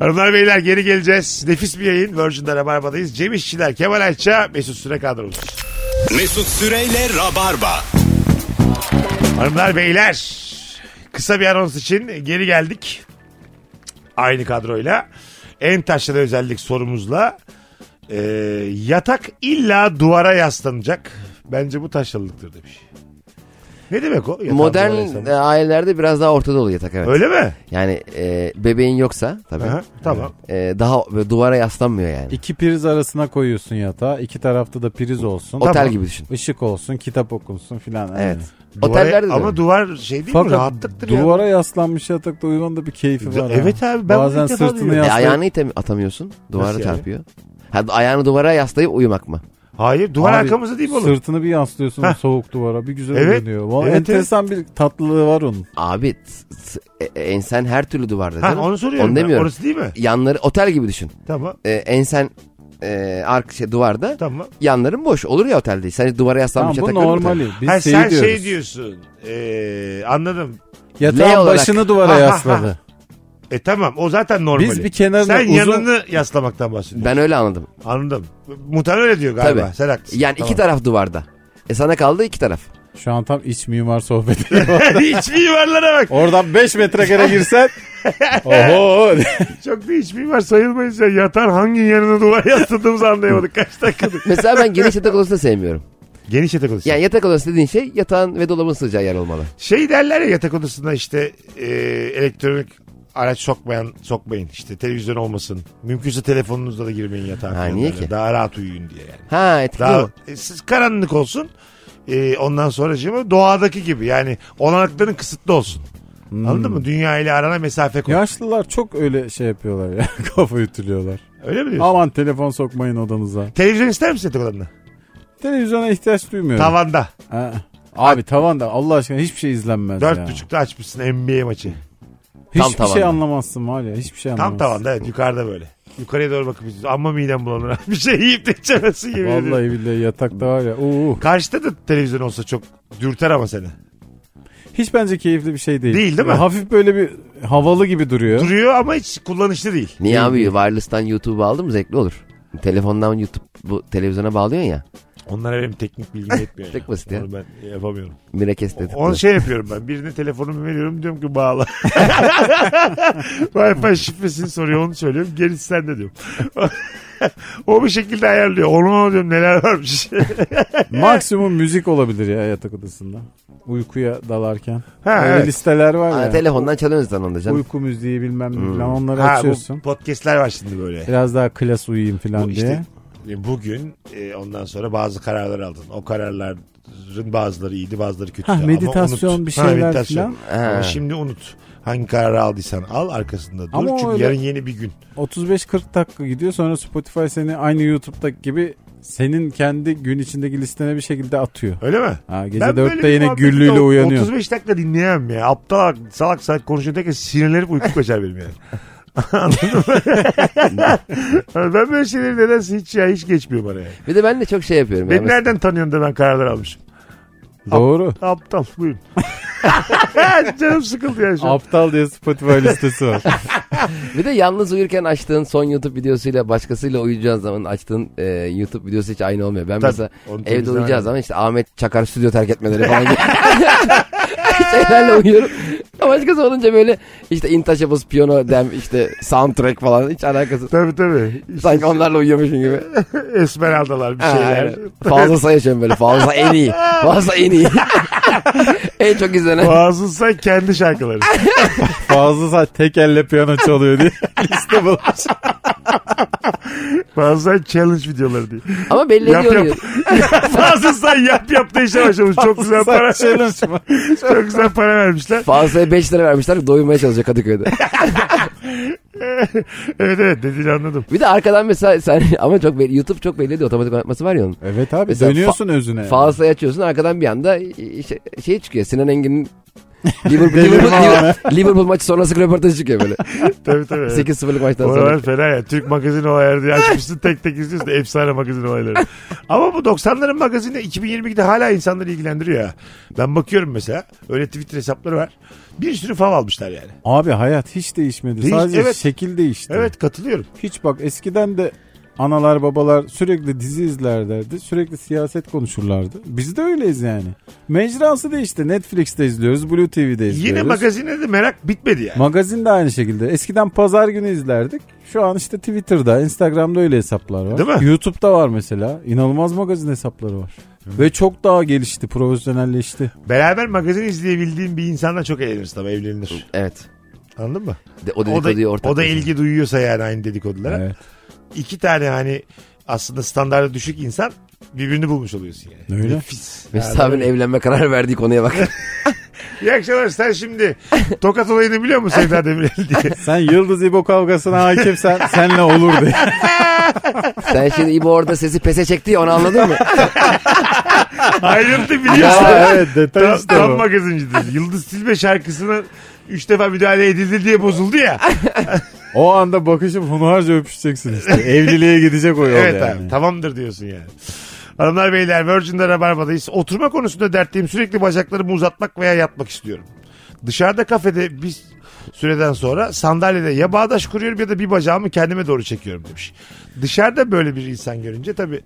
Speaker 3: Hanımlar beyler geri geleceğiz. Nefis bir yayın. Virgin'de Rabarba'dayız. Cem İşçiler, Kemal Ayça, Mesut Süre kadromuz.
Speaker 2: Mesut Süreyle Rabarba.
Speaker 3: Hanımlar beyler kısa bir anons için geri geldik. Aynı kadroyla. En taşlı özellik sorumuzla e, yatak illa duvara yaslanacak. Bence bu taşlılıktır demiş. Ne demek o? Yatağın
Speaker 5: Modern
Speaker 3: duvara yaslanmak?
Speaker 5: e, ailelerde biraz daha ortada oluyor yatak evet.
Speaker 3: Öyle mi?
Speaker 5: Yani e, bebeğin yoksa tabii.
Speaker 3: Aha, tamam.
Speaker 5: e, daha böyle duvara yaslanmıyor yani.
Speaker 4: İki priz arasına koyuyorsun yatağı. İki tarafta da priz olsun.
Speaker 5: Otel
Speaker 3: tamam.
Speaker 5: gibi düşün.
Speaker 4: Işık olsun, kitap okunsun filan.
Speaker 5: Evet.
Speaker 4: Aynen.
Speaker 3: Duvara-
Speaker 5: Otellerde de
Speaker 3: ama
Speaker 5: öyle.
Speaker 3: duvar şey değil mi? Rahatlıktır ya.
Speaker 4: duvara yaslanmış yatakta uyumanın da bir keyfi var. ha.
Speaker 3: Evet abi, ben bunu
Speaker 4: Bazen
Speaker 3: ilk defa
Speaker 4: sırtını
Speaker 3: duyuyorum.
Speaker 5: E,
Speaker 4: yaslayıp
Speaker 5: ayağını item- atamıyorsun. Duvara
Speaker 3: Nasıl yani?
Speaker 5: çarpıyor. Ha, ayağını duvara yaslayıp uyumak mı?
Speaker 3: Hayır duvar
Speaker 4: Abi,
Speaker 3: arkamızda değil mi oğlum?
Speaker 4: Sırtını bir yaslıyorsun
Speaker 3: Heh.
Speaker 4: soğuk duvara. Bir güzel
Speaker 3: Evet.
Speaker 4: uyanıyor. Vallahi
Speaker 3: Evet,
Speaker 4: enteresan bir tatlılığı var onun.
Speaker 5: Abi t- t- e- e- ensen her türlü duvarda
Speaker 3: Ha,
Speaker 5: canım.
Speaker 3: onu soruyorum.
Speaker 5: Onu
Speaker 3: ben.
Speaker 5: demiyorum.
Speaker 3: Orası değil mi?
Speaker 5: Yanları otel gibi düşün.
Speaker 3: Tamam.
Speaker 5: E, ensen e, ark şey, duvarda.
Speaker 3: Tamam.
Speaker 5: Yanların boş. Olur ya otelde. Sen hiç duvara
Speaker 4: Tamam
Speaker 5: yaslanmış
Speaker 4: bu
Speaker 5: yatakları mı
Speaker 4: normali. Biz
Speaker 3: Ha,
Speaker 4: şeyi
Speaker 3: sen
Speaker 4: diyoruz.
Speaker 3: şey diyorsun. Ee, anladım.
Speaker 4: Yatağın
Speaker 5: Ne olarak?
Speaker 4: başını duvara
Speaker 3: Ha, ha, ha.
Speaker 4: yasladı.
Speaker 3: E tamam o zaten normal.
Speaker 4: Biz bir kenarına
Speaker 3: Sen
Speaker 4: uzun-
Speaker 3: yanını yaslamaktan bahsediyorsun.
Speaker 5: Ben öyle anladım.
Speaker 3: Anladım. Muhtemelen öyle diyor galiba.
Speaker 5: Tabii.
Speaker 3: Sen haklısın.
Speaker 5: Yani iki taraf duvarda. E sana kaldı iki taraf.
Speaker 4: Şu an tam iç mimar sohbeti. (laughs)
Speaker 3: tane. (laughs) iç mimarlara bak.
Speaker 4: Oradan 5
Speaker 3: (laughs)
Speaker 4: metrekare girsen. Oho. (laughs)
Speaker 3: Çok da iç mimar sayılmayız ya. Yatar hangi yanına duvar (laughs) yasladığımızı
Speaker 5: (laughs)
Speaker 3: anlayamadık. Kaç dakikadır.
Speaker 5: Mesela ben geniş yatak odası da sevmiyorum.
Speaker 3: Geniş yatak odası.
Speaker 5: Yani yatak odası dediğin şey yatağın ve dolabın sığacağı yer olmalı.
Speaker 3: Şey derler ya yatak odasında işte e, elektronik araç sokmayan sokmayın. İşte televizyon olmasın. Mümkünse telefonunuzla da girmeyin yatağa.
Speaker 5: Ha, niye
Speaker 3: konularına.
Speaker 5: ki?
Speaker 3: Daha rahat uyuyun diye yani.
Speaker 5: Ha etkili
Speaker 3: Daha
Speaker 5: o.
Speaker 3: e, siz karanlık olsun. E, ondan sonra şimdi doğadaki gibi yani olanakların kısıtlı olsun. Anladın mı? Dünya ile arana mesafe koy.
Speaker 4: Yaşlılar çok öyle şey yapıyorlar ya. (laughs) Kafa ütülüyorlar.
Speaker 3: Öyle mi diyorsun?
Speaker 4: Aman telefon sokmayın odanıza.
Speaker 3: Televizyon ister misin yatak odanda?
Speaker 4: Televizyona ihtiyaç duymuyorum.
Speaker 3: Tavanda.
Speaker 4: Ha. Abi tavan da Allah aşkına hiçbir şey izlenmez ya.
Speaker 3: Dört buçukta açmışsın NBA maçı.
Speaker 5: Tam
Speaker 4: Hiçbir şey
Speaker 5: tavan.
Speaker 4: anlamazsın var ya. Hiçbir şey
Speaker 3: Tam
Speaker 4: anlamazsın.
Speaker 3: tavanda evet yukarıda böyle. Yukarıya doğru bakıp izliyorsun. Amma midem bulanır. (laughs) ha. Bir şey yiyip de içemezsin yemin ediyorum.
Speaker 4: Vallahi billahi yatakta var ya. Oo.
Speaker 3: Karşıda da televizyon olsa çok dürter ama seni.
Speaker 4: Hiç bence keyifli bir şey değil.
Speaker 3: Değil, değil mi?
Speaker 4: Hafif böyle bir havalı gibi duruyor.
Speaker 3: Duruyor ama hiç kullanışlı değil.
Speaker 5: Niye abi wireless'tan YouTube'u aldın mı zevkli olur. Telefondan YouTube bu televizyona bağlıyorsun ya.
Speaker 3: Onlara benim teknik bilgim yetmiyor.
Speaker 5: Çok basit ya.
Speaker 3: Onu ben yapamıyorum.
Speaker 5: Mirakes dedik.
Speaker 3: Onu şey yapıyorum ben. Birine telefonumu veriyorum diyorum ki
Speaker 4: (laughs)
Speaker 3: bağla. Wi-Fi şifresini soruyor onu söylüyorum. Gerisi sende diyorum. o bir şekilde ayarlıyor. Onu diyorum neler
Speaker 4: (laughs)
Speaker 3: varmış.
Speaker 4: Maksimum müzik olabilir ya yatak odasında. Uykuya dalarken.
Speaker 3: ha,
Speaker 4: Öyle
Speaker 3: evet.
Speaker 4: listeler var
Speaker 5: Ha,
Speaker 4: ya.
Speaker 5: telefondan çalıyorsun sen onu da canım.
Speaker 4: Uyku müziği bilmem ne falan onları
Speaker 3: Hmm. ha bu
Speaker 4: açıyorsun.
Speaker 3: podcastler var şimdi böyle.
Speaker 4: Biraz daha klas uyuyayım
Speaker 3: Bu
Speaker 4: falan
Speaker 3: işte-
Speaker 4: diye.
Speaker 3: E, Bugün e, ondan sonra bazı kararlar aldın. O kararların bazıları iyiydi bazıları kötüydü.
Speaker 4: Ha,
Speaker 3: Ama
Speaker 4: meditasyon
Speaker 3: unut.
Speaker 4: bir şeyler
Speaker 3: meditasyon.
Speaker 5: filan.
Speaker 3: Ama
Speaker 5: Ha.
Speaker 3: şimdi unut. Hangi kararı aldıysan al arkasında dur.
Speaker 4: Ama o
Speaker 3: Çünkü
Speaker 4: öyle-
Speaker 3: yarın yeni bir gün.
Speaker 4: 35-40 dakika gidiyor sonra Spotify seni aynı YouTube'daki gibi senin kendi gün içindeki listene bir şekilde atıyor.
Speaker 3: Öyle mi?
Speaker 4: Ha,
Speaker 3: Ben
Speaker 4: gece
Speaker 3: böyle
Speaker 4: 4'te
Speaker 3: bir
Speaker 4: yine
Speaker 3: muhabbeti
Speaker 4: güllüyle
Speaker 3: de
Speaker 4: uyanıyor.
Speaker 3: 35 dakika dinleyemem ya. Aptal salak salak konuşuyor derken sinirlenip
Speaker 4: (laughs)
Speaker 3: uyku kaçar benim yani. Anladın mı?
Speaker 4: (laughs)
Speaker 3: ben böyle şeyleri nedense hiç ya hiç geçmiyor bana yani.
Speaker 5: Bir de ben de çok şey yapıyorum. ya.
Speaker 3: Beni nereden tanıyorsun da ben kararlar almışım.
Speaker 4: Doğru.
Speaker 3: Aptal
Speaker 4: (laughs)
Speaker 3: buyurun. Canım sıkıldı ya şu an.
Speaker 4: Aptal diye Spotify listesi var.
Speaker 5: Bir de yalnız uyurken açtığın son YouTube videosuyla başkasıyla uyuyacağın zaman açtığın e, YouTube videosu hiç aynı olmuyor. Ben
Speaker 3: Tabii,
Speaker 5: mesela
Speaker 3: onu
Speaker 5: evde
Speaker 3: temizlemen
Speaker 5: uyuyacağım
Speaker 3: lazım.
Speaker 5: zaman işte Ahmet Çakar stüdyo terk etmeleri
Speaker 3: (laughs)
Speaker 5: falan gibi (laughs) şeylerle uyuyorum. Ama başkası olunca böyle işte Intouchables, Piyano, Dem, işte soundtrack falan hiç alakası.
Speaker 3: Tabii tabii. İşte
Speaker 5: Sanki onlarla uyuyormuşum gibi.
Speaker 3: Esmeraldalar bir
Speaker 5: Ha,
Speaker 3: şeyler. (laughs)
Speaker 5: aynen. Fazla yaşıyorum böyle. Fazla en iyi. Fazla en iyi. (laughs) en çok izlenen.
Speaker 3: Bazısı kendi
Speaker 4: (laughs)
Speaker 3: şarkıları.
Speaker 4: Fazla saat tek elle piyano çalıyor diye liste bulmuş.
Speaker 3: Bazısı challenge videoları diye.
Speaker 5: Ama belli
Speaker 3: Yap,
Speaker 5: ediyor.
Speaker 3: (laughs) yap. Bazısı yap yap da işe başlamış. Çok güzel para.
Speaker 4: Çalışma.
Speaker 3: (laughs) Çok güzel para vermişler.
Speaker 5: Fazla'ya 5 lira vermişler doyurmaya çalışıyor
Speaker 3: (laughs)
Speaker 5: Kadıköy'de.
Speaker 3: evet evet dediğini anladım.
Speaker 5: Bir de arkadan mesela sen (laughs) ama çok belli, YouTube çok belli ediyor otomatik oynatması var ya onun.
Speaker 4: Evet abi
Speaker 5: Mesela
Speaker 4: E, dönüyorsun özüne.
Speaker 5: Fazla açıyorsun arkadan bir anda i- şey, şey çıkıyor
Speaker 3: (laughs)
Speaker 5: Sinan Engin'in Liverpool,
Speaker 4: Delirme
Speaker 5: Liverpool,
Speaker 4: abi.
Speaker 5: Liverpool- Liverpool maçı sonrası röportajı çıkıyor böyle.
Speaker 3: Tabii tabii. evet.
Speaker 5: 8-0'lık maçtan sonra.
Speaker 3: Oralar fena ya. Türk magazin olayları diye açmışsın tek tek izliyorsun. Efsane magazin olayları. Ama bu 90'ların magazini 2022'de hala insanları ilgilendiriyor ya. Ben bakıyorum mesela. Öyle Twitter hesapları var. Bir sürü fav almışlar yani.
Speaker 4: Abi hayat hiç değişmedi.
Speaker 3: Değiş-
Speaker 4: Sadece
Speaker 3: evet.
Speaker 4: şekil değişti.
Speaker 3: Evet katılıyorum.
Speaker 4: Hiç bak eskiden de analar babalar sürekli dizi izlerlerdi. Sürekli siyaset konuşurlardı. Biz de öyleyiz yani. Mecrası değişti. Netflix'te izliyoruz. Blue TV'de izliyoruz.
Speaker 3: Yine magazine de merak bitmedi yani.
Speaker 4: Magazin de aynı şekilde. Eskiden pazar günü izlerdik. Şu an işte Twitter'da, Instagram'da öyle hesaplar var.
Speaker 3: Değil mi?
Speaker 4: YouTube'da var mesela. İnanılmaz magazin hesapları var. Ve çok daha gelişti, profesyonelleşti.
Speaker 3: Beraber magazin izleyebildiğin bir insanla çok eğlenirsin ama evlenilir.
Speaker 5: Evet.
Speaker 3: Anladın mı?
Speaker 5: De, o
Speaker 3: O
Speaker 5: dedikoduyu
Speaker 3: da,
Speaker 5: ortak.
Speaker 3: o da
Speaker 5: yapıyor.
Speaker 3: ilgi duyuyorsa yani aynı dedikodulara.
Speaker 4: Evet.
Speaker 3: İki tane hani aslında standarda düşük insan birbirini bulmuş oluyorsun yani.
Speaker 4: Öyle.
Speaker 3: Nefis. (laughs)
Speaker 5: Mesut abinin evlenme kararı verdiği konuya bak.
Speaker 3: İyi akşamlar sen şimdi tokat olayını biliyor musun
Speaker 4: (laughs)
Speaker 3: Sevda Demirel diye.
Speaker 4: Sen Yıldız İbo
Speaker 3: (laughs)
Speaker 4: kavgasına hakimsen senle olur diye.
Speaker 5: Sen şimdi İbo orada sesi pese çekti ya onu anladın mı?
Speaker 3: Ayrıntı biliyorsun.
Speaker 4: ya evet detay
Speaker 3: Tam,
Speaker 4: işte
Speaker 3: tam
Speaker 4: bu.
Speaker 3: magazincidir. Yıldız Tilbe şarkısına üç defa müdahale edildi diye bozuldu ya.
Speaker 4: O anda bakışıp hunharca öpüşeceksin işte. Evliliğe gidecek o yol
Speaker 3: evet
Speaker 4: yani.
Speaker 3: abi tamamdır diyorsun yani. Hanımlar beyler Virgin'de Rabarba'dayız. Oturma konusunda dertliyim. Sürekli bacaklarımı uzatmak veya yatmak istiyorum. Dışarıda kafede bir süreden sonra sandalyede ya bağdaş kuruyorum ya da bir bacağımı kendime doğru çekiyorum demiş. Dışarıda böyle bir insan görünce tabii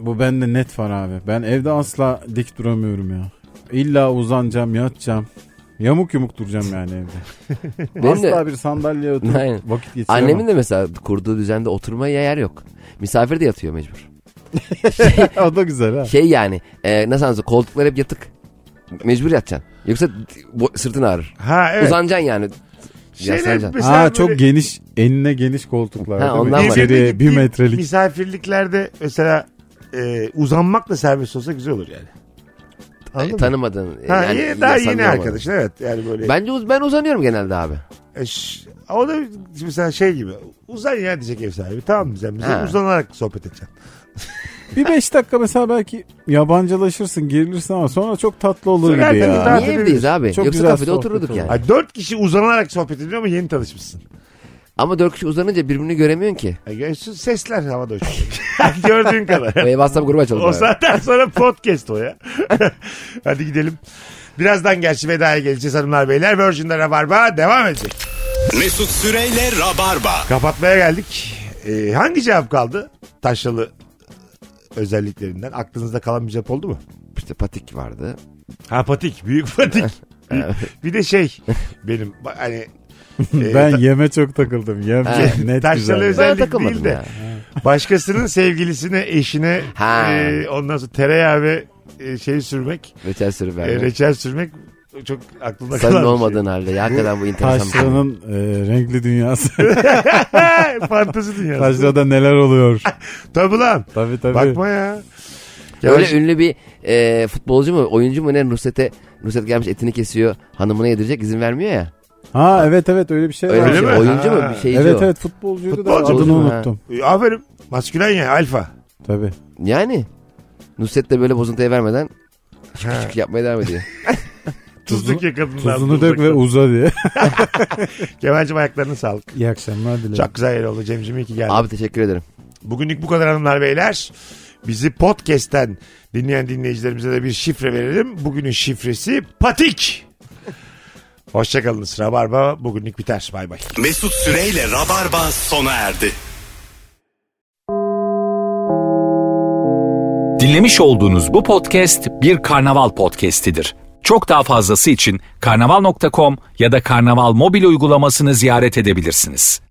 Speaker 4: Bu bende net var abi. Ben evde asla dik duramıyorum ya. İlla uzanacağım, yatacağım. Yamuk yumuk duracağım yani evde.
Speaker 5: Benim de-
Speaker 4: asla bir sandalyeye oturup
Speaker 5: Aynen.
Speaker 4: vakit geçiremem.
Speaker 5: Annemin
Speaker 4: (laughs)
Speaker 5: de mesela kurduğu düzende oturmaya yer yok. Misafir de yatıyor mecbur.
Speaker 4: o da güzel ha.
Speaker 5: Şey yani e, nasıl anlatayım koltuklar hep yatık. Mecbur yatacaksın. Yoksa bu- sırtın ağrır.
Speaker 3: ha evet.
Speaker 5: Uzanacaksın yani. E, yaslanacaksın.
Speaker 3: mesela
Speaker 4: Aa, çok
Speaker 3: böyle-
Speaker 4: geniş, enine geniş koltuklar.
Speaker 5: Ha,
Speaker 4: değil mi?
Speaker 5: ondan var.
Speaker 4: İçeriye bir
Speaker 3: gittiğim
Speaker 4: metrelik.
Speaker 3: Misafirliklerde mesela e, uzanmak da serbest olsa güzel olur yani. Anladın
Speaker 5: E,
Speaker 3: mı?
Speaker 5: tanımadığın. e,
Speaker 3: Ha,
Speaker 5: yani
Speaker 3: iyi- daha
Speaker 5: insan
Speaker 3: yeni
Speaker 5: olmadan.
Speaker 3: arkadaş evet yani böyle.
Speaker 5: Bence uz- ben uzanıyorum genelde abi.
Speaker 3: E, ş- o da mesela şey gibi uzan ya diyecek ev sahibi tamam mı sen bize
Speaker 5: Ha.
Speaker 3: uzanarak sohbet edeceksin.
Speaker 4: Bir beş dakika mesela belki yabancılaşırsın, gerilirsin ama sonra çok tatlı olur
Speaker 3: Sonra
Speaker 4: gibi
Speaker 3: herkes
Speaker 4: ya.
Speaker 3: daha-
Speaker 5: Niye
Speaker 3: tabii
Speaker 5: evdeyiz abi?
Speaker 4: çok
Speaker 5: Yoksa
Speaker 4: güzel
Speaker 5: kafede
Speaker 4: sohbet
Speaker 5: otururduk
Speaker 4: olur.
Speaker 5: yani.
Speaker 3: Ha, dört kişi uzanarak sohbet ediyor ama yeni tanışmışsın.
Speaker 5: Ama dört kişi uzanınca birbirini göremiyorsun ki.
Speaker 3: Ha, görüyorsun, sesler havada uçuyor. Gördüğün kadar.
Speaker 5: Ve WhatsApp grubu açalım.
Speaker 3: O saatten sonra podcast o ya. (laughs) Hadi gidelim. Birazdan gerçi vedaya geleceğiz hanımlar beyler. Virgin'de Rabarba devam edecek.
Speaker 2: Mesut Süreyle Rabarba.
Speaker 3: Kapatmaya geldik. Ee, hangi cevap kaldı? Taşralı özelliklerinden. Aklınızda kalan bir cevap oldu mu?
Speaker 5: İşte patik vardı.
Speaker 3: Ha patik. Büyük patik.
Speaker 4: (laughs)
Speaker 3: bir de şey benim hani e,
Speaker 4: (laughs) Ben yeme çok takıldım. Yem
Speaker 5: Evet.
Speaker 4: net
Speaker 3: Taşralı
Speaker 4: güzel. ya.
Speaker 3: özel- Özellik
Speaker 5: Ben takılmadım
Speaker 3: değil de.
Speaker 5: ya.
Speaker 4: (laughs)
Speaker 3: başkasının sevgilisine, eşine
Speaker 5: Ha.
Speaker 3: e, ondan sonra tereyağı ve e, şey sürmek,
Speaker 5: Reçel sürü
Speaker 3: e,
Speaker 5: verdi.
Speaker 3: reçel sürmek çok aklımda kalan.
Speaker 5: Samimi
Speaker 3: bir şey.
Speaker 5: olmadığın halde. Ya hakikaten bu enteresan bir şey.
Speaker 4: Taşra'nın e, renkli (laughs) dünyası.
Speaker 3: şey. Fantezi dünyası.
Speaker 4: Taşra'da neler oluyor?
Speaker 3: Tabii lan.
Speaker 4: (laughs) Tabii tabii.
Speaker 3: Bakma ya.
Speaker 5: Öyle
Speaker 3: Yavaş-
Speaker 5: ünlü bir e, futbolcu mu oyuncu mu ne Nusret'e Nusret gelmiş etini kesiyor hanımına yedirecek izin vermiyor ya.
Speaker 4: Ha evet evet öyle bir şey
Speaker 5: Öyle,
Speaker 4: var.
Speaker 5: bir şey.
Speaker 3: mi?
Speaker 5: Oyuncu
Speaker 3: Ha.
Speaker 5: mu bir şeyci
Speaker 4: Evet
Speaker 5: o.
Speaker 4: evet futbolcuydu
Speaker 3: Futbolcu
Speaker 4: da adını
Speaker 5: mu?
Speaker 4: unuttum.
Speaker 3: E, Aferin. Maskülen ya alfa.
Speaker 4: Tabii.
Speaker 5: Yani Nusret de böyle bozuntuya vermeden şık şık yapmaya devam ediyor.
Speaker 3: Tuzluk yakadın.
Speaker 4: Tuzunu dök ve uza diye.
Speaker 3: Kemal'cim ayaklarına sağlık.
Speaker 4: İyi akşamlar dilerim.
Speaker 3: Çok güzel yer oldu Cem'cim iyi ki geldin.
Speaker 5: Abi teşekkür ederim.
Speaker 3: Bugünlük bu kadar hanımlar beyler. Bizi podcast'ten dinleyen dinleyicilerimize de bir şifre verelim. Bugünün şifresi patik. Hoşçakalınız. Rabarba bugünlük biter. Bay bay.
Speaker 2: Mesut Süreyle Rabarba sona erdi.
Speaker 1: Dinlemiş olduğunuz bu podcast bir karnaval podcastidir. Çok daha fazlası için karnaval.com ya da karnaval mobil uygulamasını ziyaret edebilirsiniz.